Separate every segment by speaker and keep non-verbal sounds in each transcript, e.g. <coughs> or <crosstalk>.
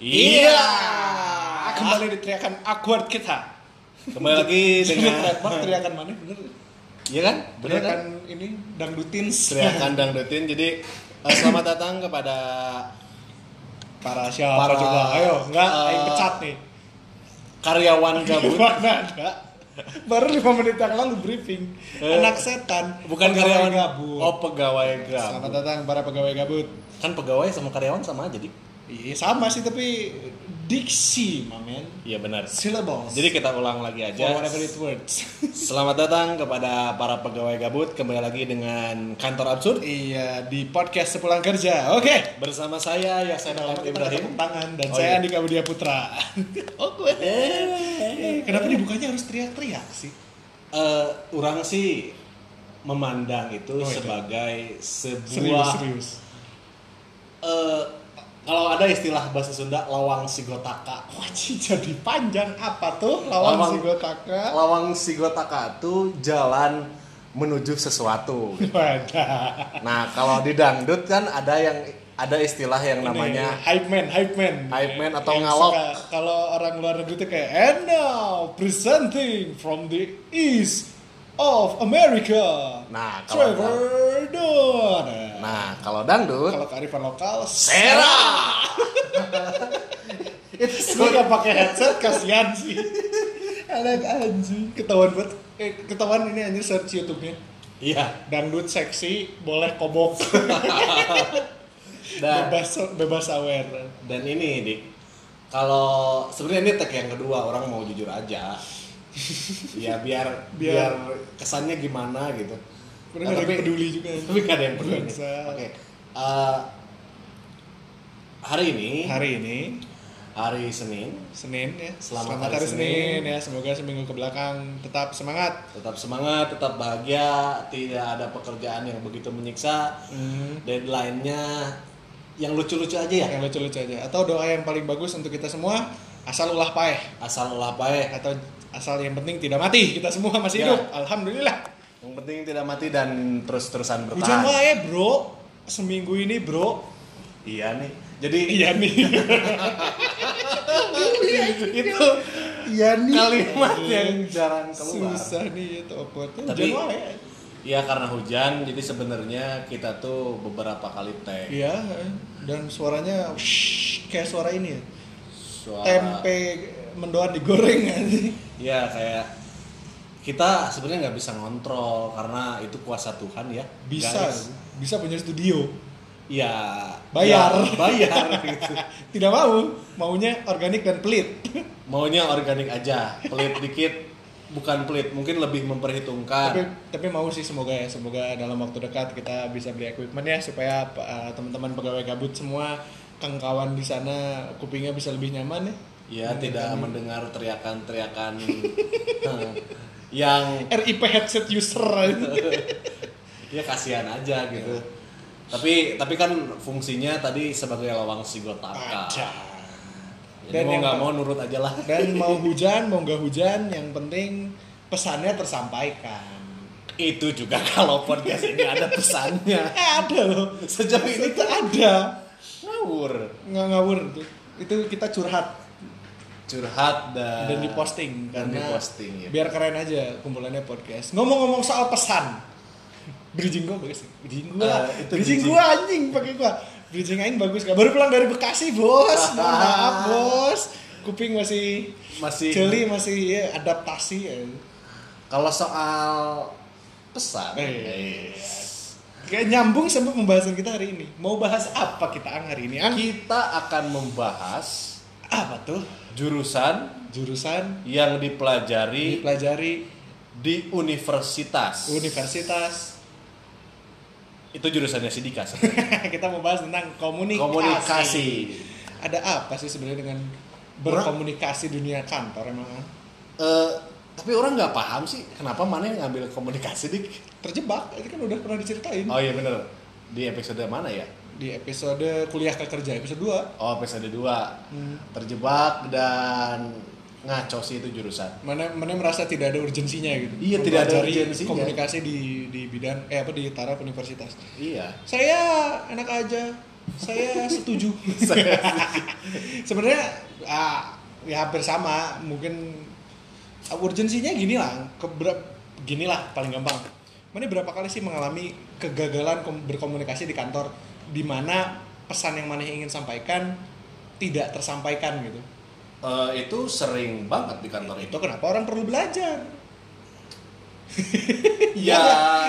Speaker 1: Iya. Ah, Kembali di teriakan awkward kita.
Speaker 2: Kembali lagi
Speaker 1: Dengan
Speaker 2: dengan
Speaker 1: trademark teriakan mana bener?
Speaker 2: Iya kan? Iya. Bener kan?
Speaker 1: Teriakan ini dangdutins.
Speaker 2: Teriakan dangdutin. Jadi eh, selamat datang kepada
Speaker 1: Para siapa
Speaker 2: Para-
Speaker 1: coba? Ayo, enggak
Speaker 2: eh,
Speaker 1: aing pecat nih.
Speaker 2: karyawan gabut.
Speaker 1: Mana ada? Baru 5 menit yang lalu briefing.
Speaker 2: Eh,
Speaker 1: Anak setan,
Speaker 2: Bukan
Speaker 1: pegawai
Speaker 2: karyawan
Speaker 1: gabut.
Speaker 2: Oh, pegawai gabut.
Speaker 1: Selamat datang para pegawai gabut.
Speaker 2: Kan pegawai sama karyawan sama aja, Dik.
Speaker 1: Iya, sama sih tapi diksi, mamen.
Speaker 2: Iya benar.
Speaker 1: Syllables.
Speaker 2: Jadi kita ulang lagi
Speaker 1: for
Speaker 2: aja.
Speaker 1: whatever it words.
Speaker 2: Selamat datang kepada para pegawai gabut kembali lagi dengan kantor absurd
Speaker 1: <laughs> iya, di podcast sepulang kerja. Oke.
Speaker 2: bersama saya Yasin Alam Ibrahim.
Speaker 1: Ibrahim tangan dan
Speaker 2: Oh,
Speaker 1: saya
Speaker 2: iya.
Speaker 1: Andika Budia Putra. <laughs> Oke. Eh, Kenapa dibukanya harus teriak-teriak sih?
Speaker 2: eh orang sih memandang itu
Speaker 1: Oh, itu.
Speaker 2: sebagai sebuah
Speaker 1: Serius, serius.
Speaker 2: eh, kalau ada istilah bahasa Sunda lawang sigotaka.
Speaker 1: Wajib jadi panjang apa tuh lawan
Speaker 2: Lawan-
Speaker 1: si Gotaka?
Speaker 2: Lawang sigotaka itu jalan menuju sesuatu.
Speaker 1: Wadah.
Speaker 2: Nah, kalau di dangdut kan ada yang ada istilah yang namanya
Speaker 1: Ini, hype man, hype man.
Speaker 2: Hype man atau
Speaker 1: Yang
Speaker 2: ngalok.
Speaker 1: suka- Kalau orang luar negeri tuh kayak and now presenting from the east of America.
Speaker 2: Nah, kalau
Speaker 1: Trevor Noah.
Speaker 2: Nah, kalau dangdut
Speaker 1: Kalau kearifan
Speaker 2: <laughs>
Speaker 1: lokal,
Speaker 2: Sera.
Speaker 1: Gue gak pakai headset kasihan sih. Anak anjing ketahuan buat eh, ketahuan ini anjir search YouTube-nya.
Speaker 2: Iya.
Speaker 1: Dangdut seksi boleh kobok.
Speaker 2: Dan
Speaker 1: bebas bebas aware.
Speaker 2: dan ini dik kalau sebenarnya ini tag yang kedua orang mau jujur <laughs> aja ya biar biar,
Speaker 1: Biar-
Speaker 2: kesannya gimana gitu
Speaker 1: Kurang
Speaker 2: Nah,
Speaker 1: ada yang
Speaker 2: tapi-
Speaker 1: peduli juga.
Speaker 2: tapi gak ada yang peduli oke
Speaker 1: Bangsa.
Speaker 2: eh, hari ini
Speaker 1: Hari ini
Speaker 2: hari Senin
Speaker 1: Senin ya.
Speaker 2: Selamat hari
Speaker 1: hari Senin.
Speaker 2: Senin.
Speaker 1: ya. Semoga seminggu ke belakang tetap semangat.
Speaker 2: tetap semangat tetap bahagia tidak ada pekerjaan yang begitu menyiksa deadline-nya yang lucu-lucu aja ya
Speaker 1: Hmm, Yang lucu-lucu aja atau doa yang paling bagus untuk kita semua asal ulah paeh
Speaker 2: asal olah ya. baik
Speaker 1: atau asal yang penting tidak mati kita semua masih
Speaker 2: Ya.
Speaker 1: hidup alhamdulillah
Speaker 2: yang penting tidak mati dan terus-terusan
Speaker 1: hujan
Speaker 2: bertahan
Speaker 1: wae bro seminggu ini bro
Speaker 2: iya nih jadi
Speaker 1: Iya nih.
Speaker 2: <laughs> itu
Speaker 1: Iya nih.
Speaker 2: kalimat yang jarang keluar.
Speaker 1: Susah nih itu apa tuh?
Speaker 2: Tapi-
Speaker 1: Jawa ya.
Speaker 2: Iya karena hujan, jadi sebenarnya kita tuh beberapa kali tag
Speaker 1: Iya. Dan suaranya shhh, kayak suara ini ya.
Speaker 2: suara.
Speaker 1: Tempe mendoan digoreng anjing.
Speaker 2: Iya kayak kita sebenarnya nggak bisa ngontrol karena itu kuasa Tuhan ya.
Speaker 1: Bisa,
Speaker 2: Guys.
Speaker 1: bisa punya studio.
Speaker 2: Iya.
Speaker 1: Bayar.
Speaker 2: Ya, bayar <laughs> gitu.
Speaker 1: Tidak mau, maunya organik dan pelit.
Speaker 2: Maunya organik aja, pelit dikit, bukan pelit, mungkin lebih memperhitungkan.
Speaker 1: tapi, tapi mau sih semoga ya, semoga dalam waktu dekat kita bisa beli equipment ya supaya uh, teman-teman pegawai gabut semua kawan di sana kupingnya bisa lebih nyaman ya.
Speaker 2: Ya tidak mendengar teriakan-teriakan eh, yang
Speaker 1: RIP headset user anjing.
Speaker 2: ya kasihan aja gitu
Speaker 1: Iya.
Speaker 2: tapi tapi kan fungsinya tadi sebagai lawang sigotaka jadi
Speaker 1: Dan
Speaker 2: mau
Speaker 1: yang
Speaker 2: nggak
Speaker 1: pa-
Speaker 2: mau nurut aja lah
Speaker 1: Dan mau hujan, mau nggak hujan, yang penting pesannya tersampaikan.
Speaker 2: itu juga <laughs> kalau podcast ini ada pesannya
Speaker 1: Eh, ada loh.
Speaker 2: sejauh ini
Speaker 1: Itu ada.
Speaker 2: ngawur
Speaker 1: Nggak ngawur itu. Itu kita curhat
Speaker 2: curhat dan
Speaker 1: dan diposting.
Speaker 2: dan
Speaker 1: Karena
Speaker 2: diposting ya
Speaker 1: Biar keren aja kumpulannya podcast. Ngomong-ngomong soal pesan. Bridging gua bagus. sih. Bridging gua.
Speaker 2: Eh, itu bridging.
Speaker 1: bridging, gua anjing pakai gua. Bridging aing bagus gak? Baru pulang dari Bekasi,
Speaker 2: <laughs>
Speaker 1: Bos. Mohon Maaf, Bos. Kuping masih
Speaker 2: masih
Speaker 1: jeli masih ya, adaptasi ya.
Speaker 2: kalau soal pesan
Speaker 1: Eh.
Speaker 2: eh,
Speaker 1: Kayak nyambung sama pembahasan kita hari ini. Mau bahas apa kita Ang hari ini? Ang?
Speaker 2: kita akan membahas
Speaker 1: Apa tuh?
Speaker 2: jurusan
Speaker 1: Jurusan
Speaker 2: yang dipelajari
Speaker 1: dipelajari
Speaker 2: di universitas
Speaker 1: universitas. <laughs>
Speaker 2: itu jurusannya Sidika sebenarnya.
Speaker 1: kita mau bahas tentang komunikasi.
Speaker 2: komunikasi.
Speaker 1: Ada apa sih sebenarnya dengan berkomunikasi dunia kantor emang? Ang?
Speaker 2: Eh, tapi orang nggak paham sih kenapa mana yang ngambil komunikasi dik?
Speaker 1: Terjebak, itu kan udah pernah diceritain
Speaker 2: Oh iya bener di episode mana ya?
Speaker 1: di episode kuliah ke kerja episode Hmm. 2
Speaker 2: Oh episode 2 terjebak dan ngaco sih itu jurusan.
Speaker 1: mana mana merasa tidak ada urgensinya gitu.
Speaker 2: Iya, tidak ada
Speaker 1: Mempelajari
Speaker 2: urgensinya.
Speaker 1: <laughs> Komunikasi di di bidang eh apa di taraf universitas.
Speaker 2: Iya.
Speaker 1: saya enak aja saya
Speaker 2: <laughs>
Speaker 1: setuju sebenarnya ah, ya hampir sama mungkin ah, urgensinya gini lah keberap gini lah paling gampang mana berapa kali sih mengalami kegagalan kom- berkomunikasi di kantor di mana pesan yang mana ingin sampaikan tidak tersampaikan gitu
Speaker 2: Eh, itu sering banget di kantor itu <laughs>
Speaker 1: itu kenapa orang perlu belajar
Speaker 2: Ya.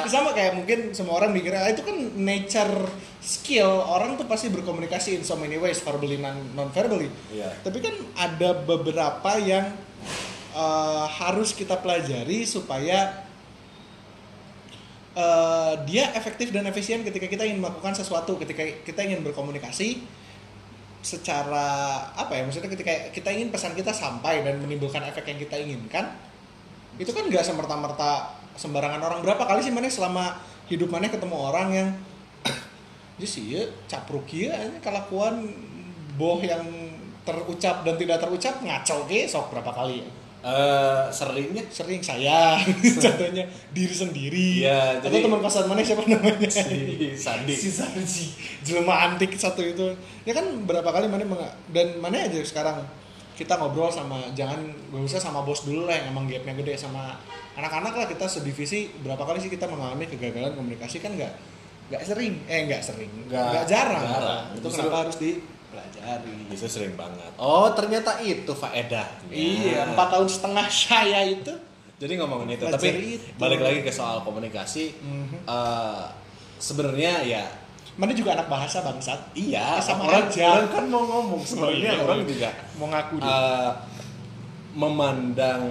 Speaker 1: Iya, sama kayak mungkin semua orang mikir "Ah, itu kan nature skill orang tuh pasti berkomunikasi in so many ways verbally non verbally
Speaker 2: Iya.
Speaker 1: tapi kan ada beberapa yang eh, harus kita pelajari supaya eh, dia efektif dan efisien ketika kita ingin melakukan sesuatu ketika kita ingin berkomunikasi secara apa ya maksudnya ketika kita ingin pesan kita sampai dan menimbulkan efek yang kita inginkan itu kan nggak semerta-merta sembarangan orang berapa kali sih mana selama hidup mana ketemu orang yang <clears throat> dia sih ya capruk ya ini kelakuan boh yang terucap dan tidak terucap ngaco ke sok berapa kali ya
Speaker 2: Eh, seringnya
Speaker 1: sering saya <laughs> contohnya diri sendiri
Speaker 2: Iya,
Speaker 1: atau
Speaker 2: jadi-
Speaker 1: teman kosan mana siapa namanya
Speaker 2: <laughs> si Sandi
Speaker 1: si Sanji jelma antik satu itu ya kan berapa kali mana meng- dan mana aja sekarang kita ngobrol sama jangan gak usah sama bos dulu lah yang emang gapnya gede sama anak-anak lah kita sedivisi berapa kali sih kita mengalami kegagalan komunikasi kan nggak nggak sering eh nggak sering
Speaker 2: Nggak-
Speaker 1: nggak jarang,
Speaker 2: jarang.
Speaker 1: itu
Speaker 2: Justru-
Speaker 1: kenapa harus dipelajari
Speaker 2: itu sering banget oh ternyata itu faedah
Speaker 1: iya empat tahun setengah saya itu
Speaker 2: jadi ngomongin itu
Speaker 1: Pelajari
Speaker 2: tapi
Speaker 1: itu.
Speaker 2: balik lagi ke soal komunikasi
Speaker 1: Mhm.
Speaker 2: eh, sebenarnya ya
Speaker 1: mana juga anak bahasa bangsat
Speaker 2: iya
Speaker 1: Eh, sama
Speaker 2: orang,
Speaker 1: aja.
Speaker 2: orang kan mau ngomong sebenarnya
Speaker 1: Oh, iya,
Speaker 2: orang
Speaker 1: iya.
Speaker 2: juga
Speaker 1: mau ngaku deh.
Speaker 2: eh, memandang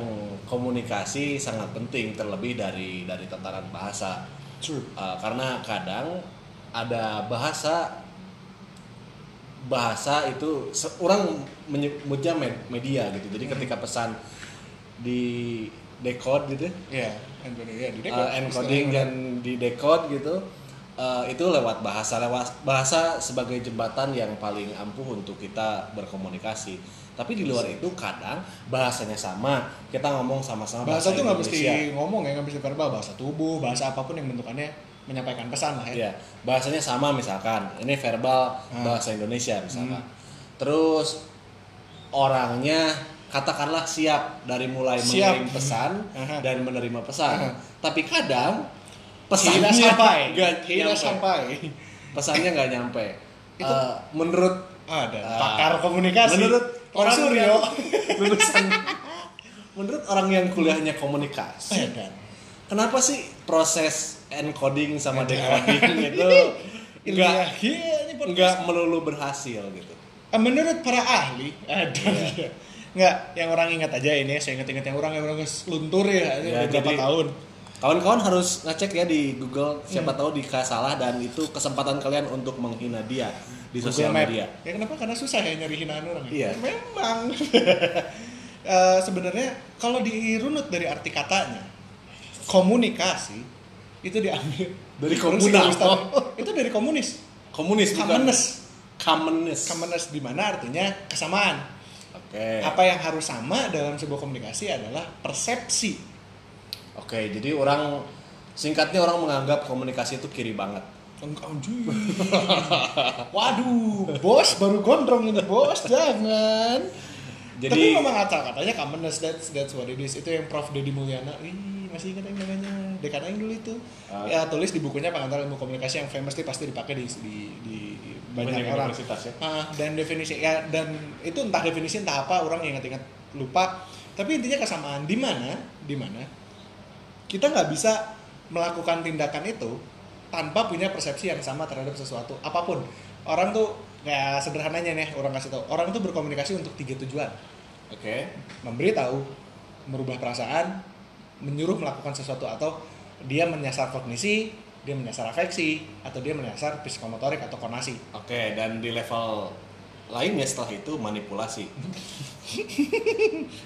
Speaker 2: komunikasi sangat penting terlebih dari dari tataran bahasa
Speaker 1: True.
Speaker 2: Eh, karena kadang ada bahasa bahasa itu se- orang menyebutnya med- media gitu
Speaker 1: Mm-hmm.
Speaker 2: jadi ketika pesan di decode gitu
Speaker 1: Ya, Anthony ya, di
Speaker 2: eh, encoding dan di decode gitu eh, itu lewat bahasa lewat bahasa sebagai jembatan yang paling ampuh untuk kita berkomunikasi tapi di luar itu kadang bahasanya sama kita ngomong sama-sama
Speaker 1: bahasa tuh nggak mesti
Speaker 2: Indonesia.
Speaker 1: ngomong ya, nggak mesti verbal, bahasa tubuh, bahasa apapun yang bentukannya menyampaikan pesan lah ya.
Speaker 2: Iya, bahasanya sama misalkan. Ini verbal
Speaker 1: Hmm.
Speaker 2: bahasa Indonesia misalkan. Terus orangnya katakanlah siap dari mulai
Speaker 1: Siap.
Speaker 2: mengirim pesan
Speaker 1: Aha.
Speaker 2: dan menerima pesan.
Speaker 1: Aha.
Speaker 2: Tapi kadang
Speaker 1: Pesannya
Speaker 2: pesannya
Speaker 1: sampai,
Speaker 2: nggak
Speaker 1: tidak
Speaker 2: nyampe.
Speaker 1: sampai.
Speaker 2: Pesannya nggak nyampe.
Speaker 1: Itu-
Speaker 2: Eh, menurut
Speaker 1: Ada
Speaker 2: Ah.
Speaker 1: pakar komunikasi.
Speaker 2: menurut
Speaker 1: orang Suryo.
Speaker 2: yang <laughs> lulusan menurut orang yang kuliahnya komunikasi
Speaker 1: Edan.
Speaker 2: kenapa sih proses encoding sama
Speaker 1: Ada.
Speaker 2: decoding
Speaker 1: <laughs>
Speaker 2: itu
Speaker 1: Ilmiah.
Speaker 2: enggak
Speaker 1: Iya, ini podcast.
Speaker 2: nggak melulu berhasil gitu
Speaker 1: Eh, Menurut para ahli, ada.
Speaker 2: Iya.
Speaker 1: Nggak, yang orang ingat aja ini, ya, saya ingat-ingat yang orang yang orang luntur ya, ini
Speaker 2: Ya,
Speaker 1: udah berapa
Speaker 2: jadi-
Speaker 1: tahun.
Speaker 2: kawan-kawan harus ngecek ya di Google siapa
Speaker 1: Hmm.
Speaker 2: tahu Dika salah dan itu kesempatan kalian untuk menghina dia di sosial
Speaker 1: Google Map.
Speaker 2: media
Speaker 1: Ya kenapa? Karena susah ya nyari hinaan orang. ya?
Speaker 2: Iya.
Speaker 1: Memang. <laughs> Eh, sebenarnya kalau dirunut dari arti katanya, komunikasi itu diambil
Speaker 2: Dari
Speaker 1: Terus
Speaker 2: komunal.
Speaker 1: Ustaz- itu dari komunis.
Speaker 2: komunis bukan
Speaker 1: Kamenes.
Speaker 2: Kamenes.
Speaker 1: Kamenes di mana artinya kesamaan.
Speaker 2: oke
Speaker 1: Apa yang harus sama dalam sebuah komunikasi adalah persepsi.
Speaker 2: oke jadi orang singkatnya orang menganggap komunikasi itu kiri banget <laughs>
Speaker 1: Anjir. Waduh, bos baru gondrong ini bos, jangan.
Speaker 2: Jadi-
Speaker 1: Tapi memang asal katanya Kamenes that's that's what it is. Itu yang Prof Dedi Mulyana. Ih, masih ingat yang namanya dekan aing dulu itu.
Speaker 2: Ah.
Speaker 1: Ya tulis di bukunya pengantar ilmu komunikasi yang famous nih, pasti dipakai di di, di banyak,
Speaker 2: Banyak
Speaker 1: orang.
Speaker 2: universitas ya.
Speaker 1: Ah, dan definisi ya dan itu entah definisi entah apa orang yang ingat-ingat lupa. Tapi intinya kesamaan di mana? Di mana? Kita nggak bisa melakukan tindakan itu tanpa punya persepsi yang sama terhadap sesuatu apapun. Orang tuh kayak sederhananya nih orang kasih tahu. Orang tuh berkomunikasi untuk tiga tujuan
Speaker 2: oke
Speaker 1: memberitahu, merubah perasaan, menyuruh melakukan sesuatu atau dia menyasar kognisi, dia menyasar afeksi, atau dia menyasar psikomotorik atau konasi.
Speaker 2: Oke, dan di level lainnya setelah itu
Speaker 1: <laughs>
Speaker 2: manipulasi.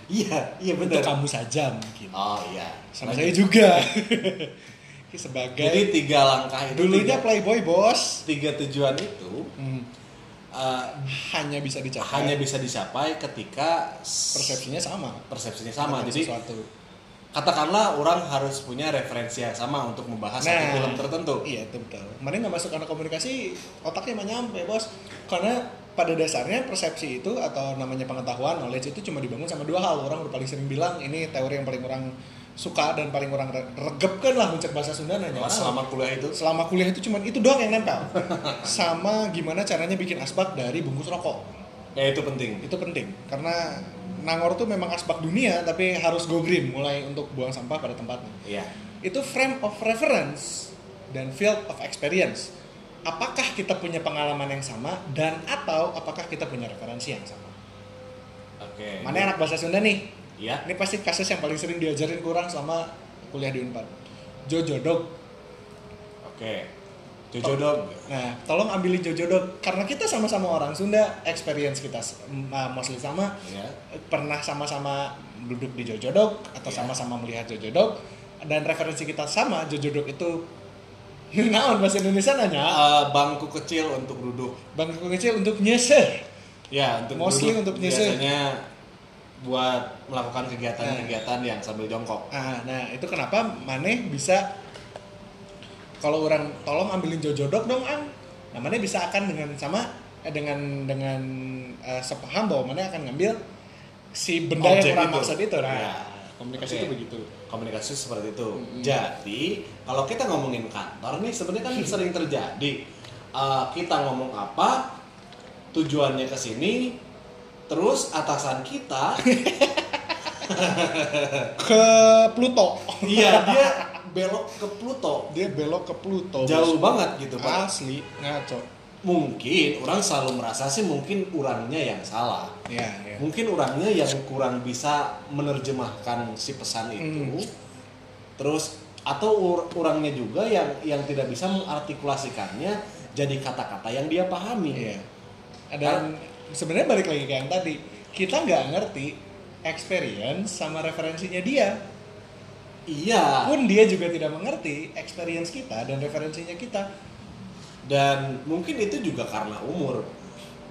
Speaker 2: iya, iya
Speaker 1: Untuk
Speaker 2: benar.
Speaker 1: kamu saja mungkin.
Speaker 2: Oh iya.
Speaker 1: Sama
Speaker 2: Lanjut.
Speaker 1: saya
Speaker 2: <laughs>
Speaker 1: juga. Sebagai
Speaker 2: Jadi iya. tiga langkah itu
Speaker 1: dulunya
Speaker 2: tiga,
Speaker 1: playboy bos,
Speaker 2: tiga tujuan itu
Speaker 1: Hmm,
Speaker 2: uh,
Speaker 1: hanya bisa dicapai.
Speaker 2: hanya bisa dicapai ketika s-
Speaker 1: persepsinya sama.
Speaker 2: persepsinya sama.
Speaker 1: Tentang
Speaker 2: Jadi
Speaker 1: sesuatu.
Speaker 2: katakanlah orang harus punya referensi yang sama untuk membahas satu
Speaker 1: Nah.
Speaker 2: film tertentu.
Speaker 1: Iya itu betul. Mana nggak masuk karena komunikasi otaknya mah nyampe bos. Karena pada dasarnya persepsi itu atau namanya pengetahuan knowledge itu cuma dibangun sama dua hal. Orang udah paling sering bilang ini teori yang paling orang suka dan paling orang re- regepkan lah mencet bahasa Sunda nanya
Speaker 2: Orang Oh, selama kuliah itu
Speaker 1: selama kuliah itu cuma itu doang yang nempel sama gimana caranya bikin asbak dari bungkus rokok
Speaker 2: ya itu penting.
Speaker 1: itu penting karena Nangor tuh memang asbak dunia tapi harus go green mulai untuk buang sampah pada tempatnya
Speaker 2: Iya.
Speaker 1: itu frame of reference dan field of experience. Apakah kita punya pengalaman yang sama dan atau apakah kita punya referensi yang sama?
Speaker 2: Oke.
Speaker 1: Mana anak bahasa Sunda nih?
Speaker 2: Iya.
Speaker 1: Ini pasti kasus yang paling sering diajarin kurang sama kuliah di Unpad. Jojo dog.
Speaker 2: Oke. Jojo dog.
Speaker 1: Nah, tolong ambilin Jojo dog karena kita sama-sama orang Sunda, experience kita uh, mostly sama,
Speaker 2: Iya.
Speaker 1: pernah sama-sama duduk di Jojo dog atau
Speaker 2: Iya.
Speaker 1: sama-sama melihat Jojo dog dan referensi kita sama Jojo dog itu <laughs> Naon bahasa Indonesia nanya?
Speaker 2: Eh, bangku kecil untuk duduk.
Speaker 1: bangku kecil untuk nyesel
Speaker 2: Ya, untuk
Speaker 1: Mostly
Speaker 2: duduk
Speaker 1: untuk nyisir.
Speaker 2: biasanya buat melakukan kegiatan-kegiatan yang sambil jongkok.
Speaker 1: ah, nah itu kenapa Mane bisa kalau orang tolong ambilin jojodok dong ang nah Mane bisa akan dengan sama eh, dengan dengan eh, sepaham bahwa Mane akan ngambil si benda
Speaker 2: Objek
Speaker 1: yang orang
Speaker 2: itu.
Speaker 1: maksud itu nah
Speaker 2: Ya.
Speaker 1: komunikasi
Speaker 2: Oke.
Speaker 1: itu begitu
Speaker 2: Komunikasi seperti itu. Jadi, kalau kita ngomongin kantor nih sebenarnya
Speaker 1: <laughs>
Speaker 2: kan sering terjadi Eh, kita ngomong apa, tujuannya ke sini, terus atasan
Speaker 1: <laughs>
Speaker 2: kita
Speaker 1: ke Pluto <laughs>
Speaker 2: iya dia belok ke Pluto.
Speaker 1: dia belok ke Pluto
Speaker 2: Jauh
Speaker 1: bos.
Speaker 2: banget gitu, Pak.
Speaker 1: asli ngaco
Speaker 2: Mungkin orang selalu merasa sih mungkin orangnya yang salah.
Speaker 1: ya ya
Speaker 2: mungkin orangnya yang kurang bisa menerjemahkan si pesan itu
Speaker 1: Hmm.
Speaker 2: terus atau ur- orangnya juga yang yang tidak bisa mengartikulasikannya jadi kata-kata yang dia pahami
Speaker 1: Iya. Dan sebenarnya balik lagi ke yang tadi, kita nggak ngerti experience sama referensinya dia.
Speaker 2: iya
Speaker 1: Pun dia juga tidak mengerti experience kita dan referensinya kita.
Speaker 2: dan mungkin itu juga karena umur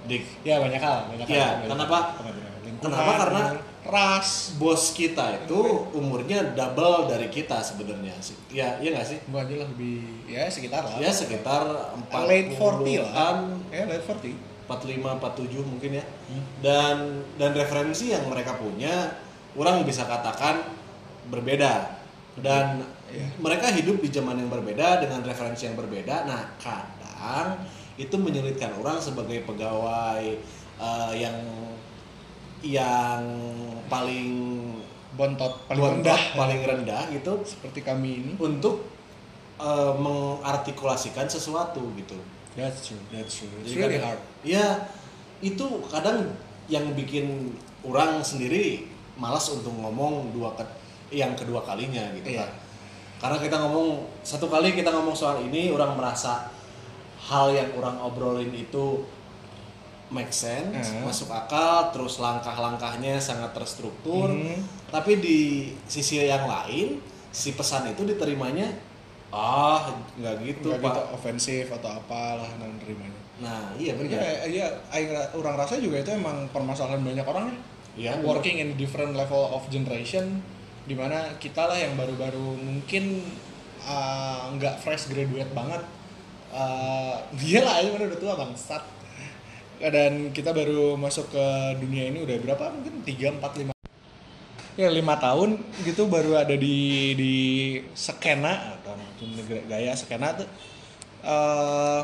Speaker 2: dik
Speaker 1: Ya banyak hal, banyak
Speaker 2: Iya,
Speaker 1: hal.
Speaker 2: kenapa?
Speaker 1: Lingkungan,
Speaker 2: Kenapa? Karena
Speaker 1: ras.
Speaker 2: bos kita itu umurnya double dari kita sebenarnya sih ya iya nggak sih
Speaker 1: Gua aja lah lebih ya sekitar lah.
Speaker 2: ya sekitar
Speaker 1: late 40
Speaker 2: an
Speaker 1: lah. Ya late 40.
Speaker 2: 45 47 mungkin ya.
Speaker 1: Hmm.
Speaker 2: Dan dan referensi yang mereka punya orang bisa katakan berbeda. Dan
Speaker 1: Iya.
Speaker 2: mereka hidup di zaman yang berbeda dengan referensi yang berbeda. Nah, kadang itu menyulitkan orang sebagai pegawai eh, yang yang paling
Speaker 1: Bontot paling
Speaker 2: bontot,
Speaker 1: rendah
Speaker 2: paling rendah gitu
Speaker 1: seperti kami ini.
Speaker 2: untuk eh, mengartikulasikan sesuatu gitu.
Speaker 1: That's true, that's true. It's
Speaker 2: Jadi
Speaker 1: really
Speaker 2: kadang-
Speaker 1: hard.
Speaker 2: Iya, itu kadang yang bikin orang sendiri malas untuk ngomong dua ke- yang kedua kalinya gitu
Speaker 1: Iya.
Speaker 2: kan. Karena kita ngomong satu kali kita ngomong soal ini orang merasa hal yang orang obrolin itu make sense,
Speaker 1: Hmm.
Speaker 2: masuk akal, terus langkah-langkahnya sangat terstruktur.
Speaker 1: Hmm.
Speaker 2: Tapi di sisi yang lain si pesan itu diterimanya ah nggak gitu
Speaker 1: Nggak
Speaker 2: pak.
Speaker 1: gitu ofensif atau apalah dan nerimanya.
Speaker 2: Nah iya benar.
Speaker 1: Iya, iya, aing ra- orang rasa juga itu emang permasalahan banyak orang ya.
Speaker 2: Iya, benar.
Speaker 1: Working in different level of generation, dimana kita lah yang baru-baru mungkin uh, nggak fresh graduate banget. Uh, dia lah, aja udah tua bangsat. Dan kita baru masuk ke dunia ini udah berapa? Mungkin 3, 4, 5 ya lima tahun gitu baru ada di di skena atau negara- gaya skena tuh eh,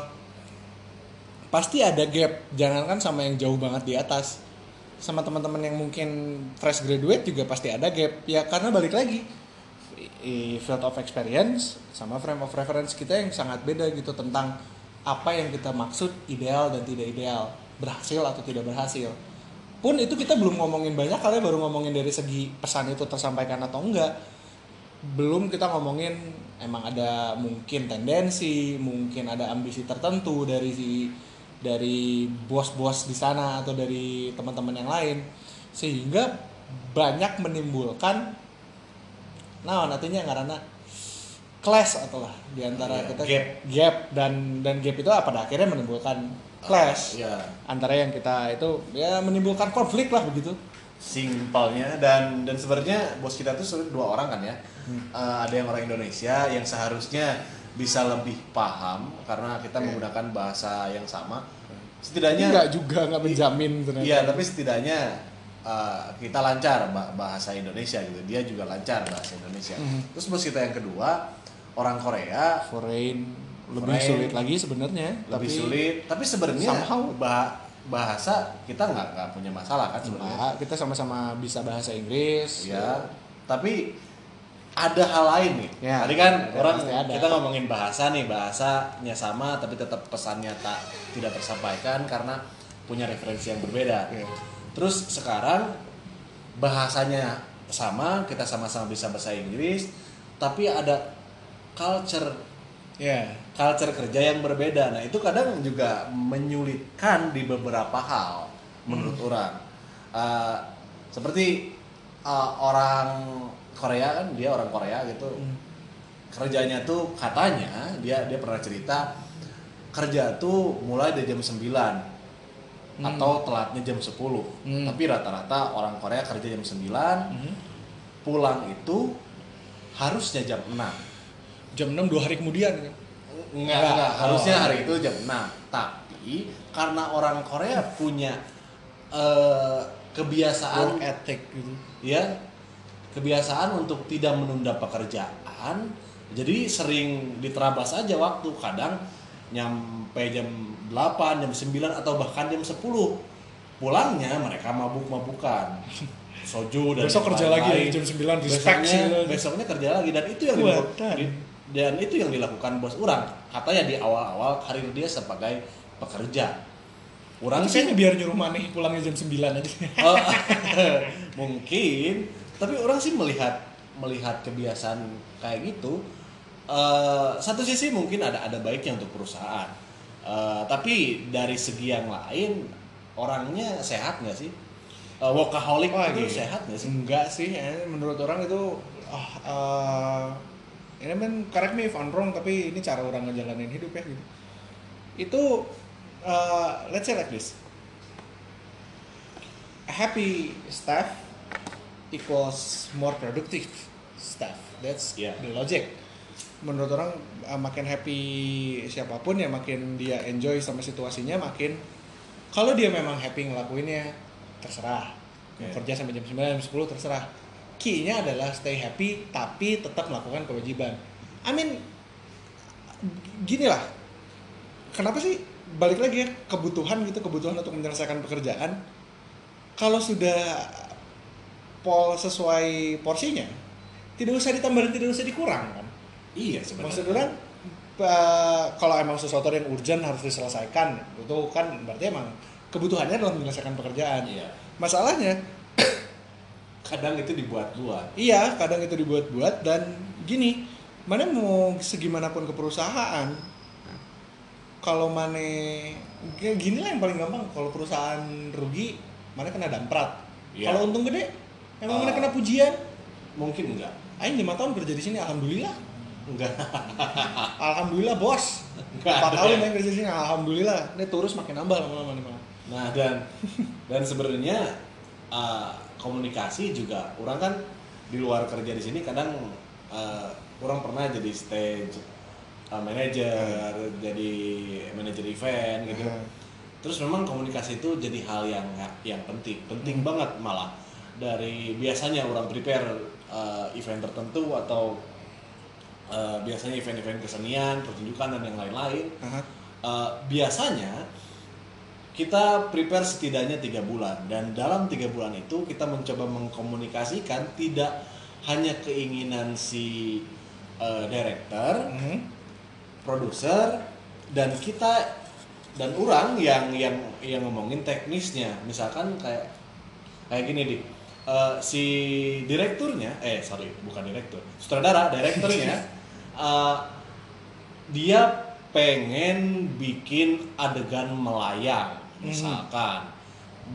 Speaker 1: pasti ada gap jangankan sama yang jauh banget di atas sama teman-teman yang mungkin fresh graduate juga pasti ada gap ya karena balik lagi i- i- field of experience sama frame of reference kita yang sangat beda gitu tentang apa yang kita maksud ideal dan tidak ideal berhasil atau tidak berhasil pun itu kita belum ngomongin banyak kali baru ngomongin dari segi pesan itu tersampaikan atau enggak belum kita ngomongin emang ada mungkin tendensi mungkin ada ambisi tertentu dari si dari bos-bos di sana atau dari teman-teman yang lain sehingga banyak menimbulkan nah nantinya karena clash atau lah di antara
Speaker 2: Iya,
Speaker 1: kita
Speaker 2: gap.
Speaker 1: gap dan dan gap itu pada akhirnya menimbulkan clash
Speaker 2: Iya.
Speaker 1: antara yang kita itu ya menimbulkan ya konflik lah begitu
Speaker 2: simpelnya dan dan sebenarnya bos kita tuh sebenarnya dua orang kan ya
Speaker 3: Hmm.
Speaker 2: Eh, ada yang orang Indonesia yang seharusnya bisa lebih paham karena kita menggunakan bahasa yang sama setidaknya
Speaker 3: Enggak juga, enggak menjamin ternyata.
Speaker 2: Iya, tapi setidaknya uh, kita lancar ba- bahasa Indonesia gitu. Dia juga lancar bahasa Indonesia.
Speaker 3: Hmm.
Speaker 2: Terus bos kita yang kedua orang Korea
Speaker 3: Foreign lebih
Speaker 2: Foreign.
Speaker 3: sulit lagi sebenarnya,
Speaker 2: lebih
Speaker 3: tapi
Speaker 2: sulit, tapi sebenarnya
Speaker 3: somehow-
Speaker 2: bah- bahasa kita nggak nggak punya masalah kan sebenarnya.
Speaker 3: Enggak, kita sama-sama bisa bahasa Inggris.
Speaker 2: Iya, tapi ada hal lain nih.
Speaker 3: Ya,
Speaker 2: Tadi kan
Speaker 3: ya,
Speaker 2: orang
Speaker 3: pasti ada.
Speaker 2: kita ngomongin bahasa nih, bahasanya sama tapi tetap pesannya tak tidak tersampaikan karena punya referensi yang berbeda.
Speaker 3: Ya.
Speaker 1: Iya.
Speaker 2: Terus sekarang bahasanya sama, kita sama-sama bisa bahasa Inggris, tapi ada culture
Speaker 1: ya
Speaker 2: culture kerja yang berbeda. Nah, itu kadang juga menyulitkan di beberapa hal menurut orang. Eh, seperti eh, orang Korea kan dia orang Korea gitu.
Speaker 1: Hmm.
Speaker 2: Kerjanya tuh katanya dia dia pernah cerita kerja tuh mulai dari jam 9 atau telatnya jam 10.
Speaker 1: Hmm.
Speaker 2: Tapi rata-rata orang Korea kerja jam 9, pulang itu harusnya jam 6.
Speaker 1: jam 6 dua hari kemudian kan
Speaker 2: Enggak,
Speaker 1: Enggak.
Speaker 2: enggak. Harusnya
Speaker 1: Oh.
Speaker 2: hari itu jam 6. Tapi karena orang Korea punya eh,
Speaker 1: work
Speaker 2: kebiasaan
Speaker 1: ethic gitu
Speaker 2: ya kebiasaan untuk tidak menunda pekerjaan. Jadi sering diterabas aja waktu. Kadang nyampe jam 8, jam 9 atau bahkan jam 10. Pulangnya mereka
Speaker 1: <laughs>
Speaker 2: mabuk-mabukan. Soju dan
Speaker 1: besok kerja lagi
Speaker 2: lain-lain
Speaker 1: ya, jam 9 di spek gitu. sih
Speaker 2: besoknya besoknya kerja lagi dan itu yang
Speaker 1: Kuatan.
Speaker 2: dilakukan dan itu yang dilakukan bos orang katanya di awal-awal karir dia sebagai pekerja orang
Speaker 1: tapi
Speaker 2: sih
Speaker 1: kayaknya biar nyuruh maneh pulangnya jam 9 aja
Speaker 2: <laughs> Oh, <laughs> mungkin tapi orang sih melihat melihat kebiasaan kayak gitu eh, satu sisi mungkin ada ada baiknya untuk perusahaan Eh, tapi dari segi yang lain orangnya sehat nggak sih Eh, workaholic
Speaker 1: Wah,
Speaker 2: itu
Speaker 1: gitu.
Speaker 2: sehat nggak sih
Speaker 1: Enggak sih, eh, menurut orang itu ah, eh, ini men correct me if I'm wrong tapi ini cara orang ngejalanin hidup ya gitu. Itu eh, let's say like this. Happy staff equals more productive staff. That's
Speaker 2: Yeah.
Speaker 1: the logic. Menurut orang eh, makin happy siapapun ya makin dia enjoy sama situasinya makin kalau dia memang happy ngelakuinnya terserah mau
Speaker 2: Oke.
Speaker 1: kerja sampai jam 9 jam 10 terserah key-nya adalah stay happy tapi tetap melakukan kewajiban I mean gini lah kenapa sih balik lagi ya kebutuhan gitu kebutuhan untuk menyelesaikan pekerjaan kalau sudah pol sesuai porsinya tidak usah ditambah dan tidak usah dikurang kan
Speaker 2: iya sebenarnya
Speaker 1: Maksud orang eh, kalau emang sesuatu yang urgent harus diselesaikan itu kan berarti emang kebutuhannya adalah menyelesaikan pekerjaan.
Speaker 2: Iya.
Speaker 1: Masalahnya
Speaker 2: kadang itu dibuat buat
Speaker 1: iya kadang itu dibuat-buat dan gini mana mau segimanapun ke perusahaan kalau mana ya gini lah yang paling gampang kalau perusahaan rugi mana kena damprat.
Speaker 2: Iya.
Speaker 1: Kalau untung gede emang
Speaker 2: Ah.
Speaker 1: mana kena pujian.
Speaker 2: mungkin enggak
Speaker 1: Aing lima tahun kerja di sini alhamdulillah.
Speaker 2: enggak Ah.
Speaker 1: Alhamdulillah
Speaker 2: <laughs>
Speaker 1: bos.
Speaker 2: Nggak
Speaker 1: Empat
Speaker 2: ada
Speaker 1: tahun
Speaker 2: ya.
Speaker 1: yang kerja di sini. Alhamdulillah. Ini turus makin nambah lama-lama nih malah.
Speaker 2: nah dan dan sebenarnya uh, komunikasi juga orang kan di luar kerja di sini kadang uh, orang pernah jadi stage uh, manager jadi manager event gitu
Speaker 1: Hmm.
Speaker 2: terus memang komunikasi itu jadi hal yang yang penting penting banget malah dari biasanya orang prepare uh, event tertentu atau uh, biasanya event-event kesenian pertunjukan dan yang lain-lain
Speaker 1: Aha.
Speaker 2: Eh, biasanya kita prepare setidaknya tiga bulan dan dalam tiga bulan itu kita mencoba mengkomunikasikan tidak hanya keinginan si eh, director,
Speaker 1: Mhm.
Speaker 2: produser dan kita dan orang yang yang yang ngomongin teknisnya misalkan kayak kayak gini di Eh, si direkturnya eh sorry bukan direktur sutradara direkturnya eh, dia pengen bikin adegan melayang misalkan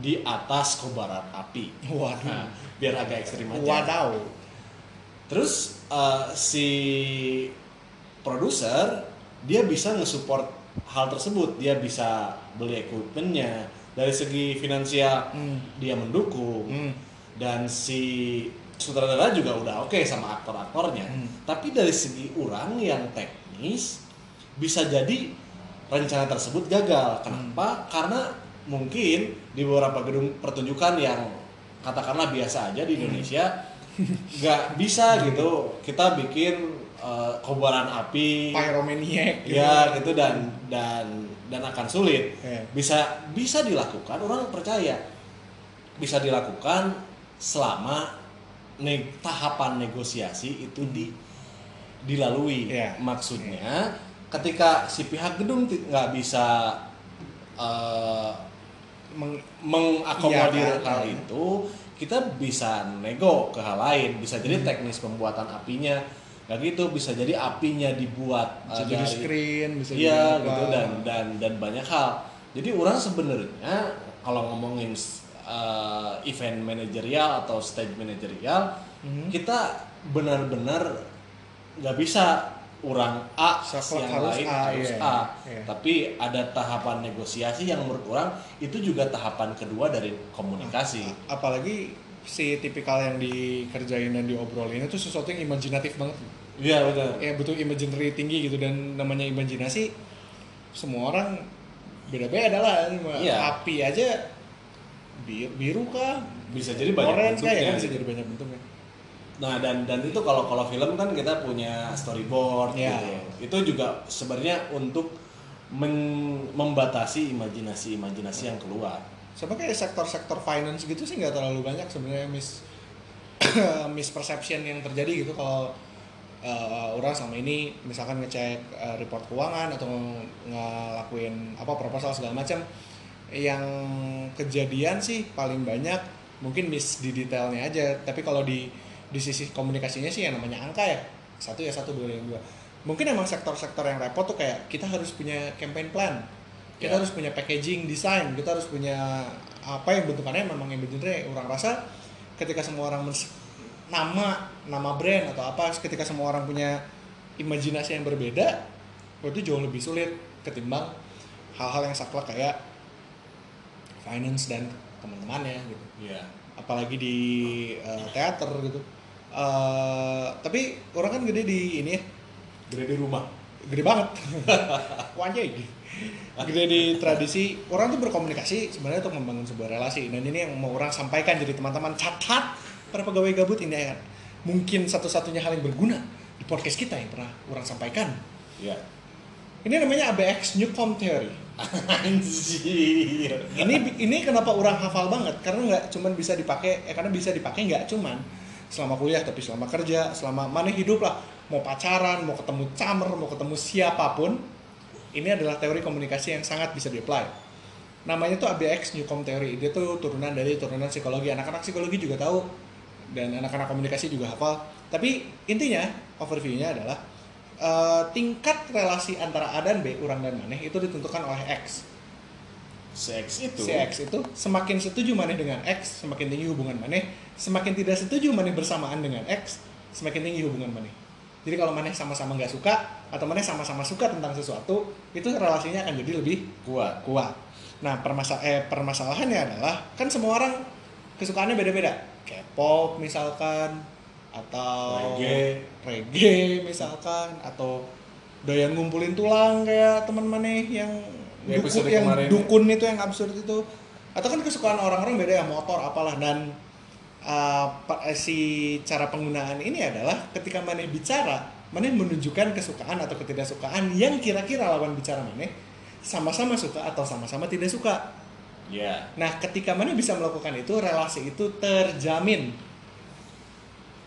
Speaker 2: di atas kobaran api
Speaker 1: Waduh.
Speaker 2: Nah, biar agak ekstrim aja
Speaker 1: Hmm. Wadaw.
Speaker 2: Terus uh, si produser dia bisa nge-support hal tersebut, dia bisa beli equipmentnya dari segi finansial
Speaker 1: Hmm.
Speaker 2: dia mendukung.
Speaker 1: Hmm.
Speaker 2: dan si sutradara juga udah oke sama aktor-aktornya
Speaker 1: Hmm.
Speaker 2: tapi dari segi orang yang teknis bisa jadi rencana tersebut gagal kenapa karena mungkin di beberapa gedung pertunjukan yang katakanlah biasa aja di Indonesia <laughs> nggak bisa gitu kita bikin eh, kobaran api
Speaker 1: pyromaniac gitu.
Speaker 2: ya gitu dan dan dan akan sulit
Speaker 1: Iya.
Speaker 2: bisa bisa dilakukan orang percaya bisa dilakukan selama ne- tahapan negosiasi itu di dilalui
Speaker 1: Iya.
Speaker 2: maksudnya ketika si pihak gedung ti- nggak bisa eh,
Speaker 1: Meng-
Speaker 2: mengakomodir
Speaker 1: Iya,
Speaker 2: hal
Speaker 1: kan?
Speaker 2: itu kita bisa nego ke hal lain bisa jadi
Speaker 1: Hmm.
Speaker 2: teknis pembuatan apinya nggak gitu bisa jadi apinya dibuat eh,
Speaker 1: jadi
Speaker 2: dari-
Speaker 1: screen bisa
Speaker 2: iya
Speaker 1: jadi apa.
Speaker 2: gitu dan dan dan banyak hal jadi orang sebenarnya kalau ngomongin eh, event manajerial atau stage manajerial
Speaker 1: Mhm.
Speaker 2: kita benar-benar nggak bisa orang A
Speaker 1: Saklek
Speaker 2: yang
Speaker 1: harus
Speaker 2: lain
Speaker 1: A,
Speaker 2: harus
Speaker 1: iya.
Speaker 2: A
Speaker 1: Iya.
Speaker 2: tapi ada tahapan negosiasi yang menurut orang itu juga tahapan kedua dari komunikasi
Speaker 1: apalagi si tipikal yang dikerjain dan diobrolin itu sesuatu yang imajinatif banget
Speaker 2: iya benar
Speaker 1: ya butuh imaginary tinggi gitu dan namanya imajinasi semua orang beda-beda lah Cuma
Speaker 2: Iya.
Speaker 1: api aja biru, biru kah
Speaker 2: bisa jadi banyak
Speaker 1: orange kah
Speaker 2: bentuknya.
Speaker 1: ya kan bisa jadi banyak bentuknya
Speaker 2: Nah dan dan itu kalau kalau film kan kita punya storyboard
Speaker 1: Ya.
Speaker 2: gitu. Itu juga sebenarnya untuk men- membatasi imajinasi imajinasi yang keluar.
Speaker 1: sama kayak sektor-sektor finance gitu sih nggak terlalu banyak sebenarnya mis <coughs> misperception yang terjadi gitu kalau eh, orang sama ini misalkan ngecek eh, report keuangan atau ngelakuin apa proposal segala macam yang kejadian sih paling banyak mungkin miss di detailnya aja tapi kalau di di sisi komunikasinya sih yang namanya angka ya satu ya satu dua ya dua mungkin emang sektor-sektor yang repot tuh kayak kita harus punya campaign plan kita
Speaker 2: Ya.
Speaker 1: harus punya packaging desain kita harus punya apa yang bentukannya memang yang bener orang rasa ketika semua orang mens- nama nama brand atau apa ketika semua orang punya imajinasi yang berbeda wah, itu jauh lebih sulit ketimbang hal-hal yang saklek kayak finance dan teman-temannya gitu
Speaker 2: Iya.
Speaker 1: apalagi di eh, teater gitu Eh, tapi orang kan gede di ini ya
Speaker 2: Gede di rumah.
Speaker 1: gede banget <laughs> wanjai gede di tradisi orang tuh berkomunikasi sebenarnya untuk membangun sebuah relasi dan ini yang mau orang sampaikan jadi teman-teman catat para pegawai gabut ini ya mungkin satu-satunya hal yang berguna di podcast kita yang pernah orang sampaikan
Speaker 2: Iya. <laughs>
Speaker 1: ini namanya ABX Newcomb Theory
Speaker 2: Anjir.
Speaker 1: ini ini kenapa orang hafal banget karena nggak cuman bisa dipakai eh, karena bisa dipakai nggak cuman selama kuliah tapi selama kerja selama mana hidup lah mau pacaran mau ketemu camer mau ketemu siapapun ini adalah teori komunikasi yang sangat bisa di-apply namanya tuh ABX Newcomb Theory dia tuh turunan dari turunan psikologi anak-anak psikologi juga tahu dan anak-anak komunikasi juga hafal tapi intinya overview-nya adalah eh, tingkat relasi antara A dan B orang dan maneh itu ditentukan oleh X
Speaker 2: Seks itu.
Speaker 1: si X itu semakin setuju maneh dengan X semakin tinggi hubungan maneh semakin tidak setuju maneh bersamaan dengan X semakin tinggi hubungan maneh jadi kalau maneh sama-sama nggak suka atau maneh sama-sama suka tentang sesuatu itu relasinya akan jadi lebih
Speaker 2: Kuat.
Speaker 1: kuat nah permasa eh, permasalahannya adalah kan semua orang kesukaannya beda-beda K-pop misalkan atau
Speaker 2: Reggae.
Speaker 1: reggae misalkan atau doyan ngumpulin tulang kayak teman maneh yang
Speaker 2: Ya,
Speaker 1: dukun,
Speaker 2: episode
Speaker 1: yang
Speaker 2: kemarin ya.
Speaker 1: dukun itu yang absurd itu atau kan kesukaan orang-orang beda ya motor apalah dan uh, pa- eh, si cara penggunaan ini adalah ketika maneh bicara maneh menunjukkan kesukaan atau ketidaksukaan yang kira-kira lawan bicara maneh sama-sama suka atau sama-sama tidak suka
Speaker 2: Iya.
Speaker 1: nah ketika maneh bisa melakukan itu relasi itu terjamin